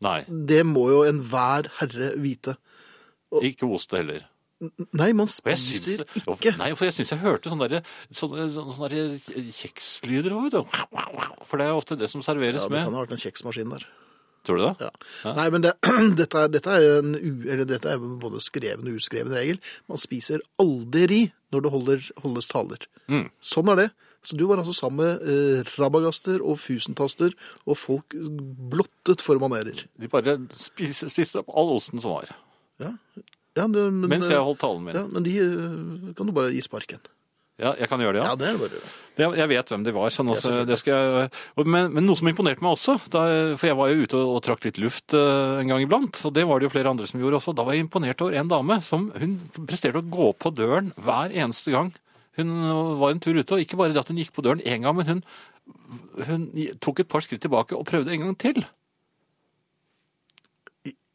Nei. Det må jo enhver herre vite. Ikke ost heller. Nei, man Og jeg syns, spiser og- ikke. Nei, for jeg syns jeg hørte sånne, der, sånne, sånne der kjekslyder òg, vet du. For det er jo ofte det som Ja, serveres det med. kan ha vært en kjeksmaskin der. Tror du det? Ja. Nei, men det, <clears throat> dette, er, dette, er en, u- eller dette er både skreven og uskreven regel. Man spiser aldri når det holder, holdes taler. Mm. Sånn er det. Så du var altså sammen med eh, rabagaster og fusentaster og folk blottet for manerer. De bare spiste, spiste opp all osten som var. Ja, ja men, men, eh, Mens jeg holdt talen min. ja, Ja, men de eh, kan du bare gi sparken. jeg kan gjøre det, Ja, ja. det er det bare. å gjøre. Det- Jeg vet hvem de var. Sånn, altså, selvfølgelig. det skal jeg, og- men, men noe som imponerte meg også, da, for jeg var jo ute og, og trakk litt luft eh, en gang iblant, og det var det jo flere andre som gjorde også, da var jeg imponert over en dame som hun presterte å gå på døren hver eneste gang. Hun var en tur ute, og ikke bare det at hun gikk på døren én gang, men hun, hun tok et par skritt tilbake og prøvde en gang til.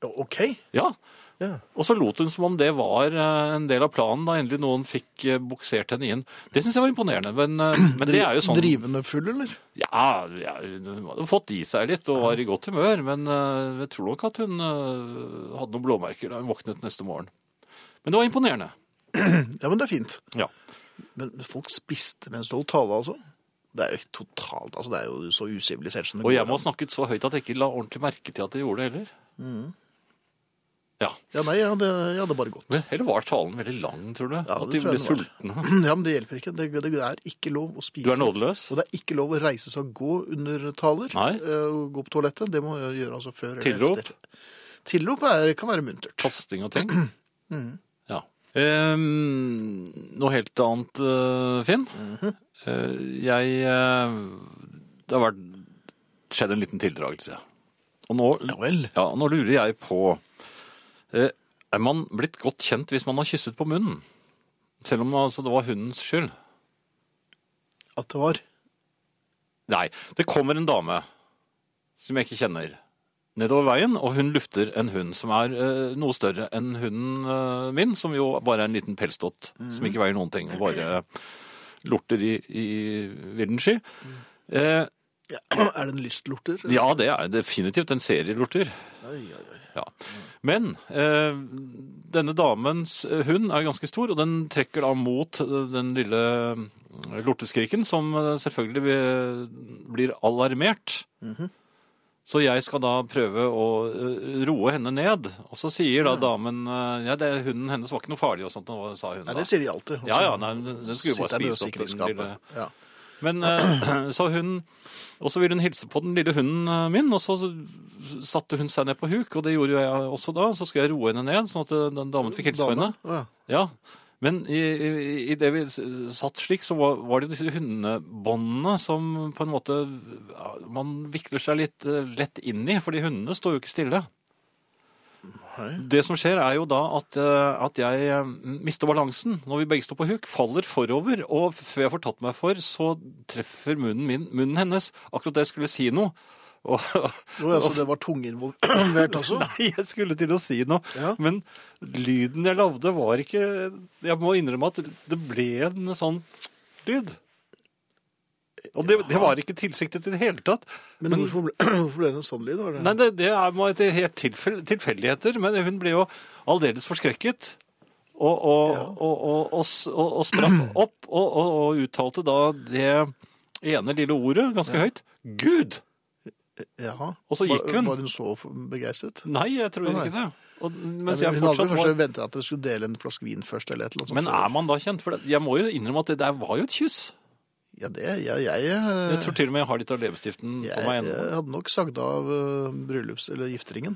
Ja, OK. Ja, Ja. Og så lot hun som om det var eh, en del av planen da endelig noen fikk eh, buksert henne inn. Det syns jeg var imponerende, men, eh, men det er jo sånn Drivende full, eller? Ja, ja, hun hadde fått i seg litt og var i godt humør, men eh, jeg tror nok at hun eh, hadde noen blåmerker da hun våknet neste morgen. Men det var imponerende. Ja, men det er fint. Ja. Men folk spiste mens de holdt tale, altså. Det er jo totalt, altså det er jo så usivilisert som det Og jeg går må an. ha snakket så høyt at jeg ikke la ordentlig merke til at jeg gjorde det heller. Mm. Ja. Ja, nei, jeg hadde, jeg hadde bare gått. Men heller var talen veldig lang, tror du? Ja, at det de tror ble jeg den var. sultne? <clears throat> Ja, men det hjelper ikke. Det, det er ikke lov å spise. Du er nådeløs? Og det er ikke lov å reise seg og gå under taler. Nei. eh, Og gå på toalettet. Det må man gjøre altså før eller Tilrop? efter. Tilrop er, kan være muntert. kasting og ting. Ja. Ehm, noe helt annet, eh, Finn. Eh, jeg eh, Det har vært skjedd en liten tildragelse. Og nå, vel. ja, nå lurer jeg på eh, Er man blitt godt kjent hvis man har kysset på munnen? Selv om altså, det var hundens skyld. At det var. <clears throat> Nei, det kommer en dame som jeg ikke kjenner nedover veien, og hun lufter en hund som er eh, noe større enn hunden eh, min, som jo bare er en liten pelsdott som ikke veier noen ting, og bare lorter i, i vilden sky. Eh, Ja, er det en lystlorter? ja, det er definitivt en serielorter. Oi, oi, oi. Ja. Men eh, denne damens eh, hund er ganske stor, og den trekker da mot eh, den lille eh, lorteskriken, som eh, selvfølgelig blir- blir alarmert. Mhm. Så jeg skal da prøve å eh, roe henne ned. Og så sier da damen eh, Ja, det, hunden hennes var ikke noe farlig og sånt, og hva sa hun Nei, da. det sier de alltid. Og Ja, så ja, nei, den den skulle jo sitter den i bare spise opp den lille sikkerhetsskapet. Ja. men eh, <clears throat> så hun Og så ville hun hilse på den lille hunden eh, min, og så satte hun seg ned på huk, og det gjorde jo jeg også da. Så skulle jeg roe henne ned, sånn at eh, den damen fikk hilse på Dame? henne. Å, ja. Ja. Men i, i, i det vi s- satt slik, så var, var det disse hundebåndene som på en måte ja, Man vikler seg litt eh, lett inn i, fordi hundene står jo ikke stille. Hei. Det som skjer er jo da at, eh, at jeg eh, mister balansen når vi begge står på huk, faller forover, og før jeg får tatt meg for, så treffer munnen min munnen hennes. Akkurat da jeg skulle si noe. Og, <laughs> Jo, <clears throat> altså, det var tunge <clears throat> involvert også? Nei, jeg skulle til å si noe, Ja. men lyden jeg lagde var ikke Jeg må innrømme at det ble en sånn lyd. Og det, det var ikke tilsiktet i det hele tatt. Men, hvorfor, ble, <clears throat> hvorfor ble det en sånn lyd? Var det? Nei, det, det er må jeg- helt tilfell, tilfeldigheter, men hun ble jo aldeles forskrekket. Og, og, og, og, og, s- og, og spratt opp og, og, og uttalte da det ene lille ordet ganske høyt. Gud! Jaha. Og så gikk Var- hun. Var hun så for- begeistret? Nei, jeg tror Nei. ikke det. Og, mens Nei, jeg men hun hadde fortsatt vel var kanskje ventet at dere skulle dele en flaske vin først, eller et eller annet sånt. Men er man da kjent? For det- jeg må jo innrømme at det der var jo et kyss. Ja, det, jeg, jeg, eh, Jeg tror til og med jeg har litt av leppestiften på meg jeg, ennå. jeg hadde nok sagd av eh, bryllups- eller gifteringen.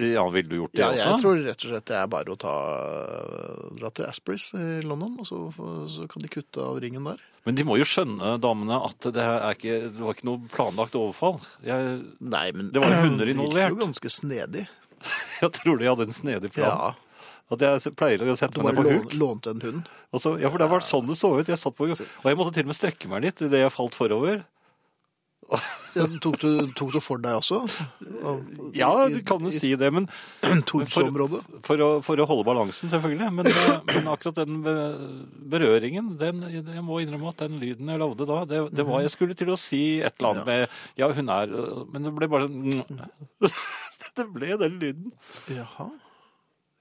Ja, ville du gjort det Ja, også? jeg tror rett og slett det er bare å ta, eh, dra til Asprys i London, og så, så kan de kutte av ringen der. Men de må jo skjønne, damene, at det, her er ikke, det var ikke noe planlagt overfall. Jeg, <laughs> Nei, men Det var jo <clears throat> hunder Det virker involvert. jo ganske snedig. jeg tror de hadde en snedig plan. Ja, At jeg pleier å sette du meg bare ned på lån, huk. lånte en hund. Og så- ja, for det var sånn det så ut. Jeg satt på huk. Og jeg måtte til og med strekke meg litt idet jeg falt forover. Ja, tok, du, tok du for deg også? Av- Ja, i- du kan jo i si det, men <clears throat> Torps-området? for å, for å holde balansen, selvfølgelig. Men, eh, men akkurat den be- berøringen, den, jeg må innrømme at den lyden jeg lagde da, det, det var Jeg skulle til å si et eller annet med Ja, hun er øh, Men det ble bare sånn, <laughs> Det ble den lyden. Jaha.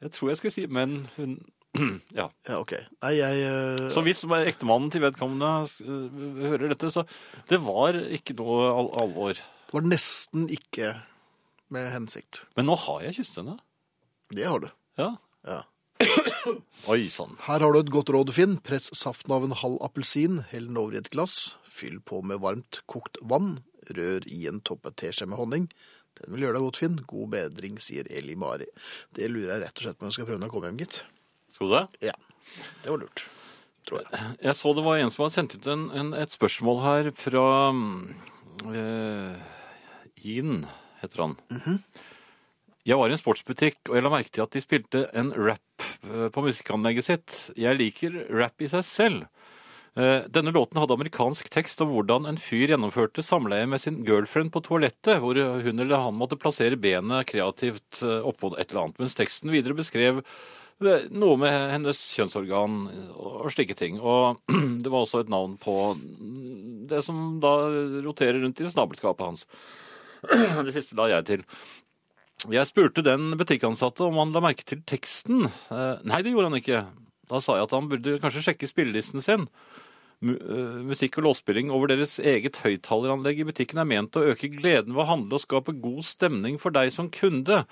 Jeg tror jeg skulle si Men hun <clears throat> Ja. Ja, ok. Nei, jeg eh, Så hvis ektemannen til vedkommende øh, hører dette, så Det var ikke noe al alvor. Det var nesten ikke med hensikt. Men nå har jeg kysset henne. Det har du. Ja. Ja. Oi sånn. sann. Her har du et godt råd, Finn. Press saften av en halv appelsin, hell den over i et glass, fyll på med varmt kokt vann, rør i en toppet teskje med honning. Den vil gjøre deg godt, Finn. God bedring, sier Eli Mari. Det lurer jeg rett og slett på om jeg skal prøve når jeg kommer hjem, gitt. Skal du det? Ja, det var lurt. Tror jeg. Eh, Jeg så det var en som hadde sendt ut en, en, et spørsmål her fra uh, Ian, heter han. Mhm. Jeg var i en sportsbutikk, og jeg la merke til at de spilte en rap eh, på musikkanlegget sitt. Jeg liker rap i seg selv. Eh, Denne låten hadde amerikansk tekst om hvordan en fyr gjennomførte samleie med sin girlfriend på toalettet, hvor hun eller han måtte plassere benet kreativt eh, oppå et eller annet, mens teksten videre beskrev eh, noe med hennes kjønnsorgan og slike ting. Og <clears throat> det var også et navn på det som da roterer rundt i snabelskapet hans. <clears throat> Det siste la jeg til. Jeg spurte den butikkansatte om han la merke til teksten. Eh, Nei, det gjorde han ikke. Da sa jeg at han burde kanskje sjekke spillelisten sin. Mu- eh, Musikk og låtspilling over deres eget høyttaleranlegg i butikken er ment å øke gleden ved å handle og skape god stemning for deg som kunde.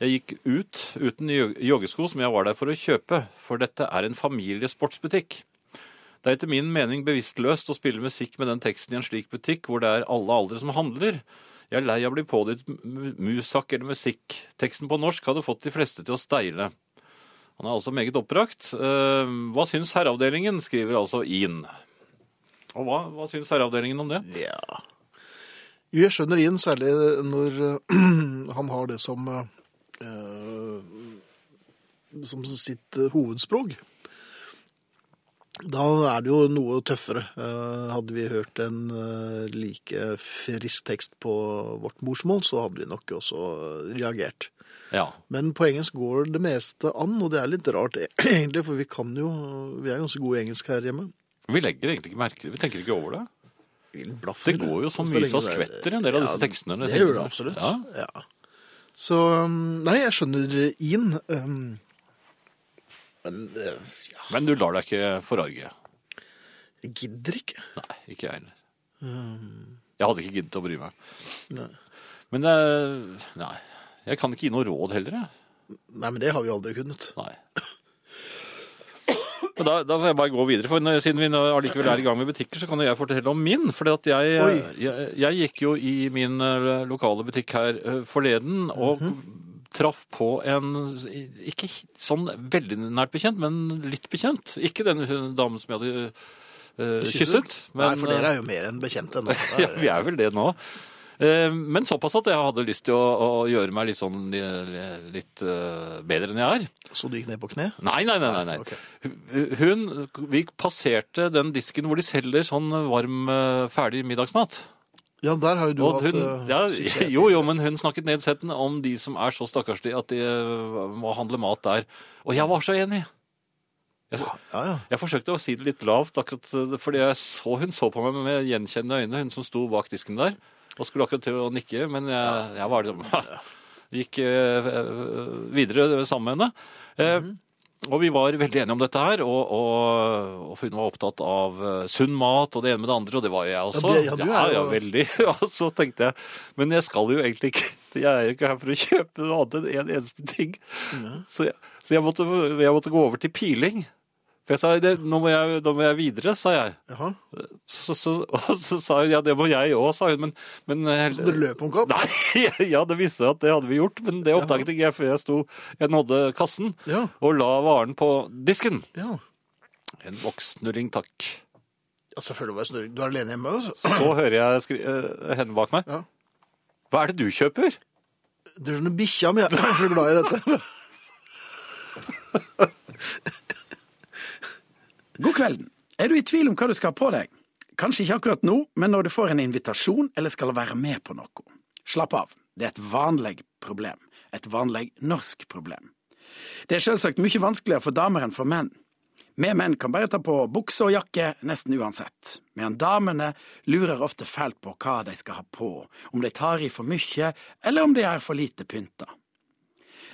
Jeg gikk ut uten jog- joggesko som jeg var der for å kjøpe, for dette er en familiesportsbutikk. Det er etter min mening bevisstløst å spille musikk med den teksten i en slik butikk hvor det er alle aldre som handler. Jeg er lei av å bli pådyttet mu- musak eller musikk. Teksten på norsk hadde fått de fleste til å steile. Han er altså meget oppbrakt. Eh, Hva syns herreavdelingen, skriver altså Ian. Og hva, hva syns herreavdelingen om det? Ja. Jo, jeg skjønner Ian, særlig når eh, <clears throat> han har det som eh, eh, som sitt eh, hovedspråk. Da er det jo noe tøffere. Eh, hadde vi hørt en eh, like frisk tekst på vårt morsmål, så hadde vi nok også eh, reagert. Ja. Men på engelsk går det meste an, og det er litt rart e-, <clears throat> egentlig, for vi kan jo Vi er ganske gode i engelsk her hjemme. Vi legger egentlig ikke merke til det. Vi tenker ikke over det. Blaffer. Det går jo så lenge mye så det er- skvetter en del av disse tekstene. Det gjør det absolutt. Ja. Ja. Så um, Nei, jeg skjønner Ian. um, Men eh, ja, Men du lar deg ikke forarge. jeg gidder ikke. Nei, ikke jeg heller. Jeg hadde ikke giddet å bry meg. Um. Nei. Men eh, nei. Jeg kan ikke gi noe råd heller, jeg. nei, men det har vi aldri kunnet. Nei. Men Da, da får jeg bare gå videre, for når- siden vi nå allikevel er i gang med butikker, så kan jo jeg fortelle om min. For jeg, eh, Oi. jeg, jeg gikk jo i min eh, lokale butikk her eh, forleden og Mhm. traff på en Ikke sånn veldig nært bekjent, men litt bekjent. Ikke den hun- damen som jeg hadde eh, kysset. eh, <laughs> Nei, for dere er jo mer enn bekjente ennå. Ja, vi er vel det nå. Eh, Men såpass at jeg hadde lyst til å, å gjøre meg litt sånn eh, litt eh, bedre enn jeg er. Så du gikk ned på kne? Nei, nei, nei. nei, nei. Ok. Hun, vi passerte den disken hvor de selger sånn varm, eh, ferdig middagsmat. Ja, der har jo du Og hatt hun, eh, ja, suksess. jo, jo, men hun snakket nedsettende om de som er så stakkarslige at de eh, må handle mat der. Og jeg var så enig. Jeg, Ja, ja. jeg forsøkte å si det litt lavt, akkurat eh, fordi jeg så, hun så på meg med gjenkjennende øyne, hun som sto bak disken der, og skulle akkurat til å nikke, men jeg, jeg var liksom <laughs> Gikk eh, videre sammen med henne. Eh, Mhm. Og vi var veldig enige om dette her, og, og, og hun var opptatt av eh, sunn mat og det ene med det andre, og det var jo jeg også. Ja, det- ja, du er ja, jo- veldig. <laughs> Og så tenkte jeg, men jeg skal jo egentlig ikke, <laughs> jeg er jo ikke her for å <laughs> kjøpe noe annet enn en eneste ting. Så, jeg, så jeg, måtte, jeg måtte gå over til piling. For jeg sa, det, nå, må jeg, nå må jeg videre, sa jeg. Jaha. Så, så, <laughs> og så sa hun, ja, det må jeg òg, sa hun. Men, men eh, Så dere løp om kapp? <laughs> Nei, ja, det visste jeg at det hadde vi gjort, men det oppdaget ikke jeg før jeg sto Jeg nådde kassen Ja. og la varen på disken. Ja. En vokssnurring, takk. ja, selvfølgelig var det snurring. Du er alene hjemme, altså. Så hører jeg skri eh, henne bak meg. Ja. Hva er det du kjøper? Du skjønner, bikkja mi er så glad i <laughs> dette. God kvelden. Er du i tvil om hva du skal ha på deg? Kanskje ikke akkurat nå, men når du får en invitasjon eller skal være med på noe. Slapp av, det er et vanlig problem. Et vanlig norsk problem. Det er selvsagt mye vanskeligere for damer enn for menn. Vi menn kan bare ta på bukse og jakke nesten uansett, medan damene lurer ofte fælt på hva de skal ha på, om de tar i for mye, eller om de er for lite pynta.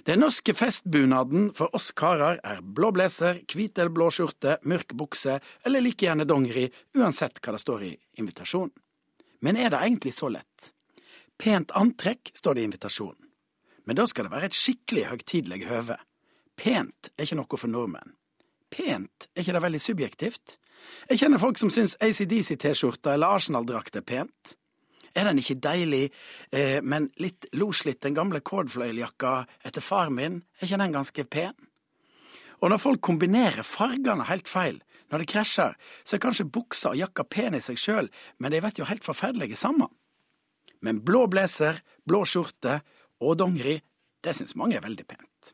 Den norske festbunaden for oss karer er blå blazer, hvit eller blå skjorte, mørk bukse eller like gjerne dongeri, uansett hva det står i invitasjonen. Men er det egentlig så lett? Pent antrekk står det i invitasjonen. Men da skal det være et skikkelig høgtidelig høve. Pent er ikke noe for nordmenn. Pent, er ikke det veldig subjektivt? Jeg kjenner folk som syns ACDC-T-skjorta eller Arsenal-drakt er pent. Er den ikke deilig, eh, men litt loslitt, den gamle kordfløyeljakka etter far min, er ikke den ganske pen? Og når folk kombinerer fargene helt feil, når det krasjer, så er kanskje buksa og jakka pen i seg sjøl, men de vet jo helt forferdelige sammen. Men blå blazer, blå skjorte og dongeri, det syns mange er veldig pent.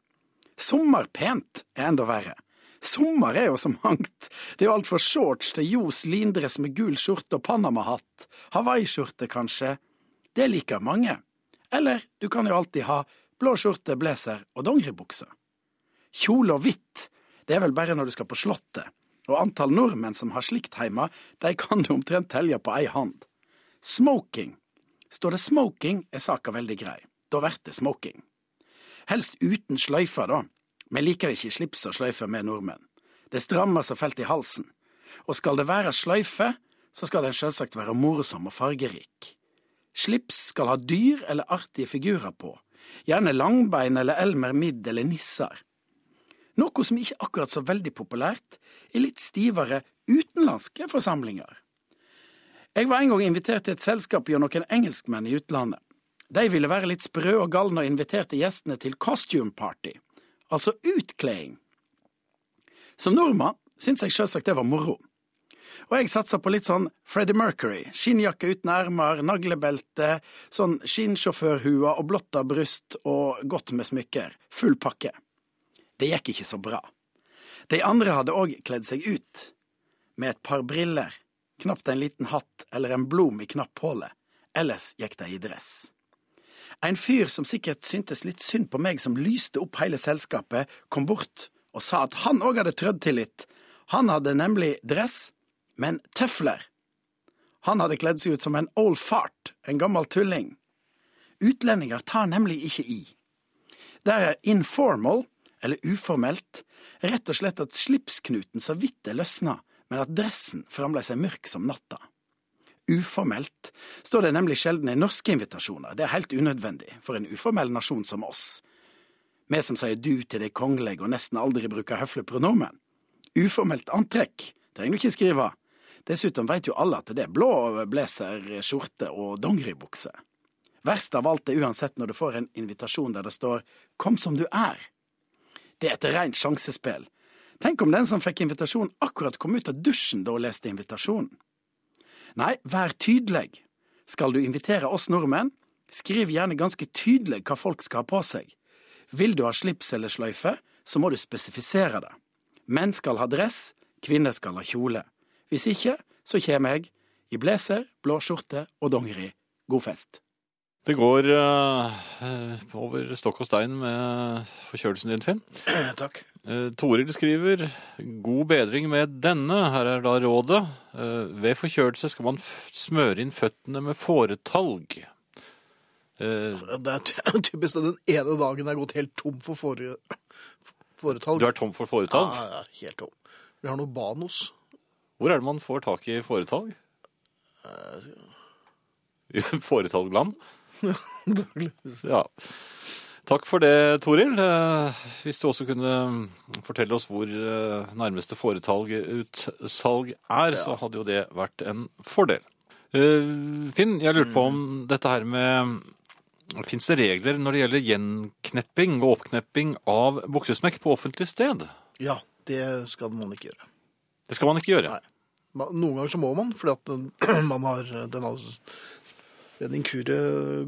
Sommerpent er enda verre. Sommer er jo så mangt. Det er jo alt fra shorts til ljos lindress med gul skjorte og Panama-hatt. Hawaii-skjorte, kanskje. Det liker mange. Eller du kan jo alltid ha blå skjorte, blazer og dongeribukse. Kjole og hvitt, det er vel bare når du skal på Slottet. Og antall nordmenn som har slikt hjemme, de kan du omtrent telle på ei hand. Smoking. Står det smoking, er saka veldig grei. Da blir det smoking. Helst uten sløyfer, da. Vi liker ikke slips og sløyfer, vi nordmenn. Det strammer så fælt i halsen. Og skal det være sløyfe, så skal den selvsagt være morsom og fargerik. Slips skal ha dyr eller artige figurer på. Gjerne langbein eller Elmer Midd eller nisser. Noe som ikke akkurat så veldig populært, i litt stivere utenlandske forsamlinger. Jeg var en gang invitert til et selskap gjennom noen engelskmenn i utlandet. De ville være litt sprø og galne og inviterte gjestene til costume party, altså utkleding. Som nordmann syntes jeg selvsagt det var moro. Og jeg satsa på litt sånn Freddie Mercury, skinnjakke uten ermer, naglebelte, sånn skinnsjåførhue og blotta bryst og godt med smykker. Full pakke. Det gikk ikke så bra. De andre hadde òg kledd seg ut med et par briller, knapt en liten hatt eller en blom i knapphullet, ellers gikk de i dress. En fyr som sikkert syntes litt synd på meg som lyste opp hele selskapet, kom bort og sa at han òg hadde trødd til litt. Han hadde nemlig dress, men tøfler. Han hadde kledd seg ut som en old fart, en gammel tulling. Utlendinger tar nemlig ikke i. Der er informal, eller uformelt, rett og slett at slipsknuten så vidt er løsna, men at dressen fremdeles er mørk som natta. Uformelt står det nemlig sjelden i norske invitasjoner, det er helt unødvendig for en uformell nasjon som oss. Vi som sier du til de kongelige og nesten aldri bruker høflige pronomen. Uformelt antrekk trenger du ikke skrive. Dessuten veit jo alle at det er blå blazer, skjorte og dongeribukse. Verst av alt er uansett når du får en invitasjon der det står Kom som du er. Det er et rent sjansespill. Tenk om den som fikk invitasjon akkurat kom ut av dusjen da hun leste invitasjonen. Nei, vær tydelig. Skal du invitere oss nordmenn, skriv gjerne ganske tydelig hva folk skal ha på seg. Vil du ha slips eller sløyfe, så må du spesifisere det. Menn skal ha dress, kvinner skal ha kjole. Hvis ikke, så kommer jeg i blazer, blå skjorte og dongeri. God fest. Det går eh, over stokk og stein med forkjølelsen din, Finn. Takk. Eh, Toril skriver God bedring med denne. Her er da rådet. Eh, ved forkjølelse skal man f smøre inn føttene med fåretalg. Eh, Det er ty- <laughs> typisk det. Den ene dagen er jeg gått helt tom for fore, foretalg. du er tom for fåretalg? Ja, ja, helt tom. Vi har noe banos. Hvor er det man får tak i fåretalg? <laughs> I Fåretalgland? Eh, ja. Takk for det, Toril. Eh, Hvis du også kunne fortelle oss hvor eh, nærmeste fåretalgutsalg er, så hadde jo det vært en fordel. Eh, Finn, jeg lurte på om dette her med Fins det regler når det gjelder gjenknepping og oppknepping av buksesmekk på offentlig sted? Ja, det skal man ikke gjøre. Det skal man ikke gjøre. Nei. Man, noen ganger så må man, fordi at den- <clears throat> man har eh, den har en inkurie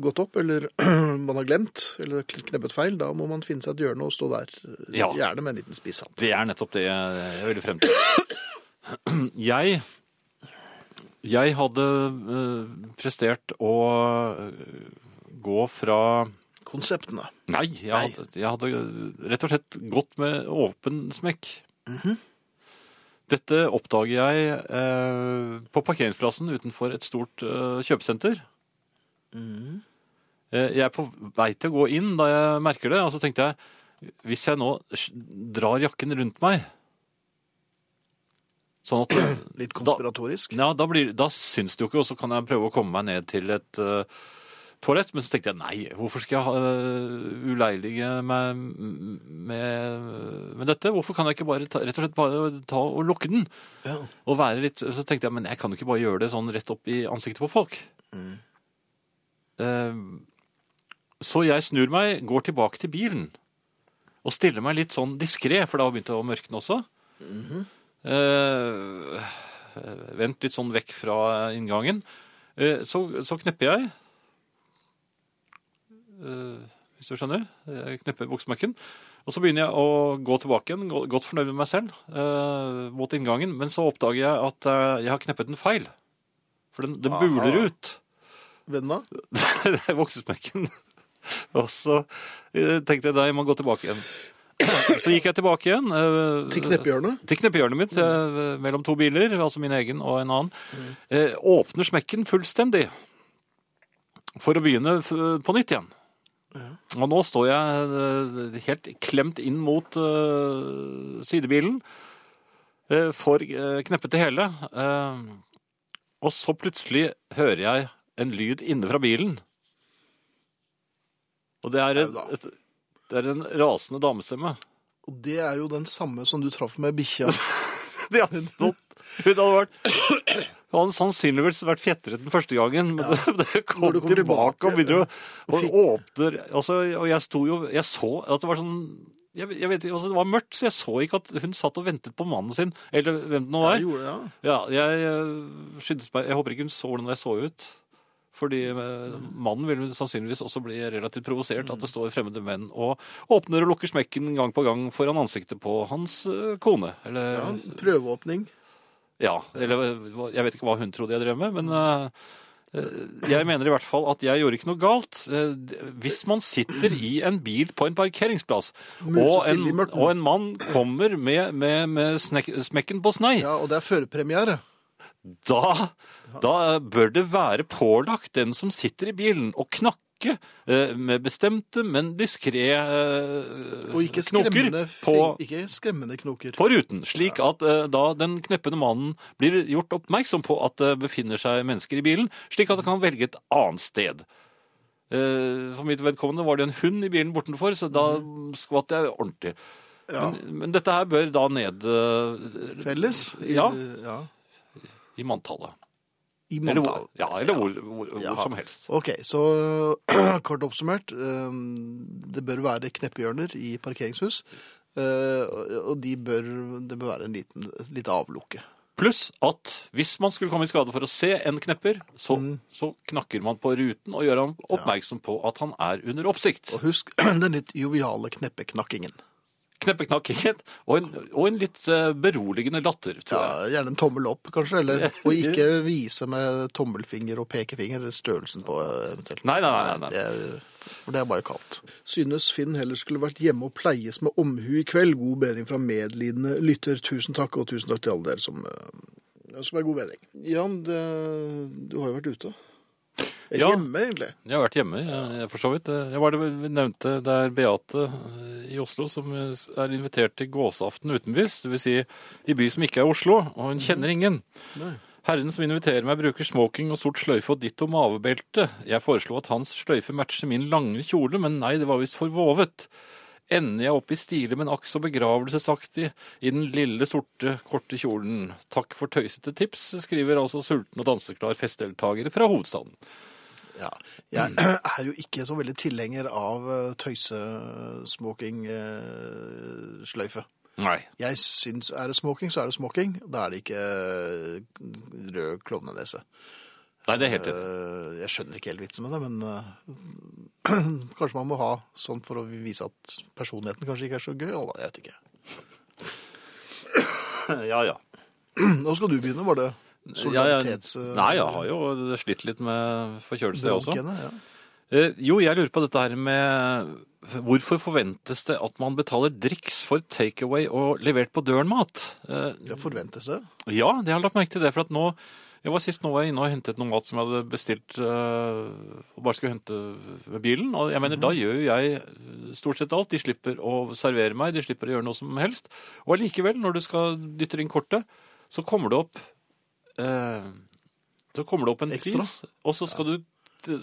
gått opp, eller <clears throat> man har glemt, eller kneppet feil. Da må man finne seg et hjørne og stå der, eh, Ja. gjerne med en liten spisshatt. Det er nettopp det jeg ville frem til. Jeg, jeg hadde eh, prestert å eh, gå fra Konseptene. Nei, jeg Nei. hadde, jeg hadde rett og slett gått med åpen smekk. Dette oppdager jeg eh, på parkeringsplassen utenfor et stort eh, kjøpesenter. Eh, jeg er på vei til å gå inn da jeg merker det, og så tenkte jeg hvis jeg nå sj- drar jakken rundt meg sånn at Litt Da- konspiratorisk. ja, da, blir, da syns det jo ikke, og så kan jeg prøve å komme meg ned til et eh, toalett. Men så tenkte jeg nei, hvorfor skal jeg ha, eh, uleilige meg med, med dette? Hvorfor kan jeg ikke bare ta, rett og slett bare ta og lukke den? Ja. Og være litt, så tenkte jeg, men jeg kan jo ikke bare gjøre det sånn rett opp i ansiktet på folk. Eh, så jeg snur meg, går tilbake til bilen, og stiller meg litt sånn diskré, for da har det begynt å mørkne også. Eh, eh, vent litt sånn vekk fra inngangen. Eh, så, så knepper jeg. Eh, hvis du skjønner. Jeg knepper buksmekken. Og så begynner jeg å gå tilbake igjen, gå- godt fornøyd med meg selv, eh, mot inngangen. Men så oppdager jeg at eh, jeg har kneppet den feil. For den, den Aha. buler ut. Venna? <laughs> Det er voksesmekken. Og så eh, tenkte jeg da jeg må gå tilbake igjen. Så gikk jeg tilbake igjen. eh, Til kneppehjørnet? Til kneppehjørnet mitt, eh, mellom to biler, altså min egen og en annen. Eh, Åpner smekken fullstendig. For å begynne f- på nytt igjen. Og nå står jeg eh, helt klemt inn mot eh, sidebilen. eh, Får eh, kneppet det hele. eh, og så plutselig hører jeg en lyd inne fra bilen. Og det er, et, Au da. et, det er en rasende damestemme. Og det er jo den samme som du traff med <laughs> bikkja. De hadde stått. Hun hadde vært Hun hadde sannsynligvis vært fjetret den første gangen, men <laughs> det, det kom, Når du kom tilbake, tilbake, og begynner å og fikk- åpner altså, Og jeg sto jo Jeg så at det var sånn jeg, jeg vet, ikke, altså, Det var mørkt, så jeg så ikke at hun satt og ventet på mannen sin, eller hvem det nå Ja, var. gjorde det, ja. Ja, jeg eh, skyndes meg. Jeg håper ikke hun så hvordan jeg så ut. Fordi eh, mannen vil jo sannsynligvis også bli relativt provosert at det står fremmede menn og åpner og lukker smekken gang på gang foran ansiktet på hans eh, kone. ja. Eller, Prøveåpning. ja. eller hva- jeg vet ikke hva hun trodde jeg drev med, men eh, eh, jeg mener i hvert fall at jeg gjorde ikke noe galt. Eh, d- Hvis man sitter i en bil på en parkeringsplass, og en, stille i mørket. og en mann kommer med, med, med snek, smekken på snei, Ja, og det er førpremiere. da, da bør det være pålagt den som sitter i bilen, å knakke eh, med bestemte, men diskré eh, Og ikke knoker skremmende, på, fing- ikke skremmende knoker. på ruten. Slik at eh, da den kneppende mannen blir gjort oppmerksom på at det befinner seg mennesker i bilen, slik at han kan velge et annet sted. Eh, for mitt vedkommende var det en hund i bilen bortenfor, så da skvatt jeg ordentlig. Mhm. Ja. Men, men dette her bør da ned eh, Felles. I, Ja. ja. i manntallet. I Eller, manntall. hvor, ja, eller hvor, hvor, Ja. hvor som helst. Ok, så <clears throat> kort oppsummert. eh, Det bør være kneppehjørner i parkeringshus. eh, Og og de bør, det bør være en liten, litt avlukke. Pluss at hvis man skulle komme i skade for å se en knepper, så, Mhm. så knakker man på ruten og gjør ham oppmerksom på at han er under oppsikt. Og husk <clears throat> den litt joviale kneppeknakkingen. Kneppeknakkingen og en, og en litt eh, beroligende latter, tror jeg. Ja, gjerne en tommel opp, kanskje. <laughs> Eller, og ikke vise med tommelfinger og pekefinger størrelsen på eh, eventuelt. Nei, nei, nei, nei. Det er, for det er bare kaldt. Synes Finn heller skulle vært hjemme og pleies med omhu i kveld. God bedring fra medlidende lytter. Tusen takk, og tusen takk til alle dere som, eh, som er god bedring. Jan, det, du har jo vært ute. Eller Ja. hjemme, egentlig. Jeg har vært hjemme, jeg, jeg for så vidt. Eh, Jeg var det vi nevnte det er Beate eh, i Oslo som eh, er invitert til gåseaften utenbys, det vil si i by som ikke er Oslo, og hun kjenner ingen. Herren som inviterer meg bruker smoking og sort sløyfe og ditto mavebelte. Jeg foreslo at hans sløyfe matcher min lange kjole, men nei, det var visst for vovet. Ender jeg opp i stile, men akk så begravelsesaktig, i den lille, sorte, korte kjolen. Takk for tøysete tips, skriver altså sulten og danseklar festdeltakere fra hovedstaden. Ja. Jeg <clears throat> er jo ikke så veldig tilhenger av eh, tøysesmoking-sløyfe. Nei. Jeg syns er det smoking, så er det smoking. Da er det ikke eh, rød klovnenese. Nei, det er helt enig. Eh, Jeg skjønner ikke helt vitsen med det, men eh, <clears throat> kanskje man må ha sånn for å vise at personligheten kanskje ikke er så gøy. Eller, jeg vet ikke. <clears throat> Eh, Ja, ja. Nå skal du begynne, var det solidaritets... jeg, nei, jeg har jo slitt litt med forkjølelse, jeg også. Drunkene, ja. Eh, jo, jeg lurer på dette her med Hvorfor forventes det at man betaler driks for takeaway og levert på døren-mat? Eh, Det forventes det. ja, det har jeg lagt merke til det, for at nå jeg var sist nå var jeg inne og hentet noe mat som jeg hadde bestilt eh, og bare skulle hente ved bilen. Og jeg mener, da gjør jo jeg eh, stort sett alt. De slipper å servere meg, de slipper å gjøre noe som helst. Og allikevel, når du skal dytter inn kortet, så kommer det opp eh, Så kommer det opp en Ekstra. pris, og så skal du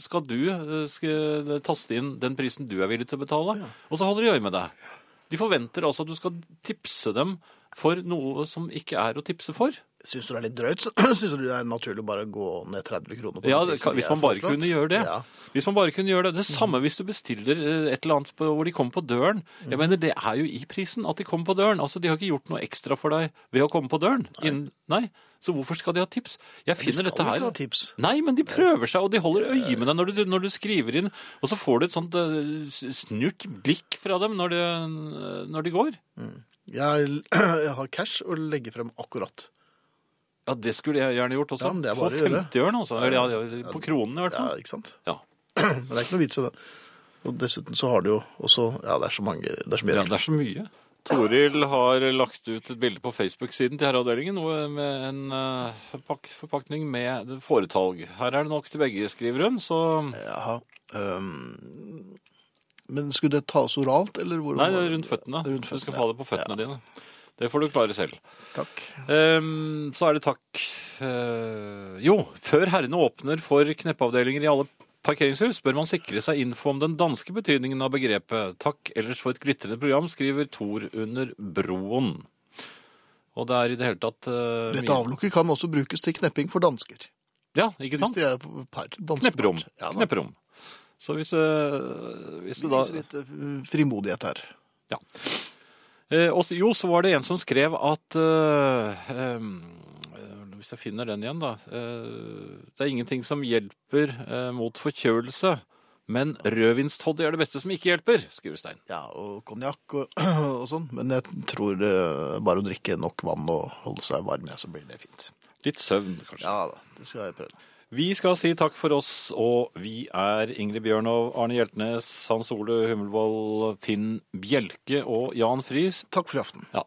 skal du eh, sk- taste inn den prisen du er villig til å betale, og så holder de øye med deg. De forventer altså at du skal tipse dem for noe som ikke er å tipse for. Syns du det er litt drøyt? <clears throat> Syns du det er naturlig å bare gå ned 30 kroner? på Ja, den det, prisen de hvis er man bare foreslått? kunne gjøre det. Ja. Hvis man bare kunne gjøre det. Det samme hvis du bestiller eh, et eller annet på, hvor de kommer på døren. Jeg mener, det er jo i prisen at de kommer på døren. Altså, de har ikke gjort noe ekstra for deg ved å komme på døren. Nei. nei. Så hvorfor skal de ha tips? Jeg Vi skal finner dette ikke her. ha tips. Nei, men de prøver seg, og de holder øye med deg når du, når du skriver inn. Og så får du et sånt eh, s- snurt blikk fra dem når de, når de går. Jeg, <clears throat> jeg har cash å legge frem akkurat. Ja, det skulle jeg gjerne gjort også. Ja, men det er på bare å gjøre. 50-åren, altså. Eller ja, ja, på kronen i hvert Ja, fall. ikke sant? Ja. Men det er ikke noe vits i det. Og dessuten så har du jo også Ja, det er så mange det er så mye. Ja, det er så mye. Toril har lagt ut et bilde på Facebook-siden til herreavdelingen hvor- med en eh, pakk- forpakning med foretalg. Her er det nok til begge, skriver hun. Så Jaha. øhm, men skulle det tas oralt, eller hvor? Nei, det er rundt føttene. Rundt Du skal føttene, få det på føttene dine. Det får du klare selv. Takk. Ehm, så er det takk eh, Jo, før herrene åpner for kneppeavdelinger i alle parkeringshus, bør man sikre seg info om den danske betydningen av begrepet. Takk ellers for et glitrende program, skriver Tor under broen. Og det er i det hele tatt eh, Dette mye- avlukket kan også brukes til knepping for dansker. Ja, ikke Hvis sant? de er på par. danskepar. Knepperom. Ja, da. Knepperom. Så hvis, eh, hvis Vi det da viser litt eh, frimodighet her. Ja. Eh, og så- jo, så var det en som skrev at eh, em, eh, Hvis jeg finner den igjen, da. Eh, det er ingenting som hjelper eh, mot forkjølelse, men rødvinstoddy er det beste som ikke hjelper, skriver Stein. Ja, og konjakk og, <clears throat> og sånn. Men jeg tror eh, bare å drikke nok vann og holde seg varm, ja, så blir det fint. Litt søvn, kanskje. Ja da, det skal jeg prøve. Vi skal si takk for oss, og vi er Ingrid Bjørnov, Arne Hjeltnes, Hans Ole Hummelvold, Finn Bjelke og Jan Friis. Takk for i aften. Ja,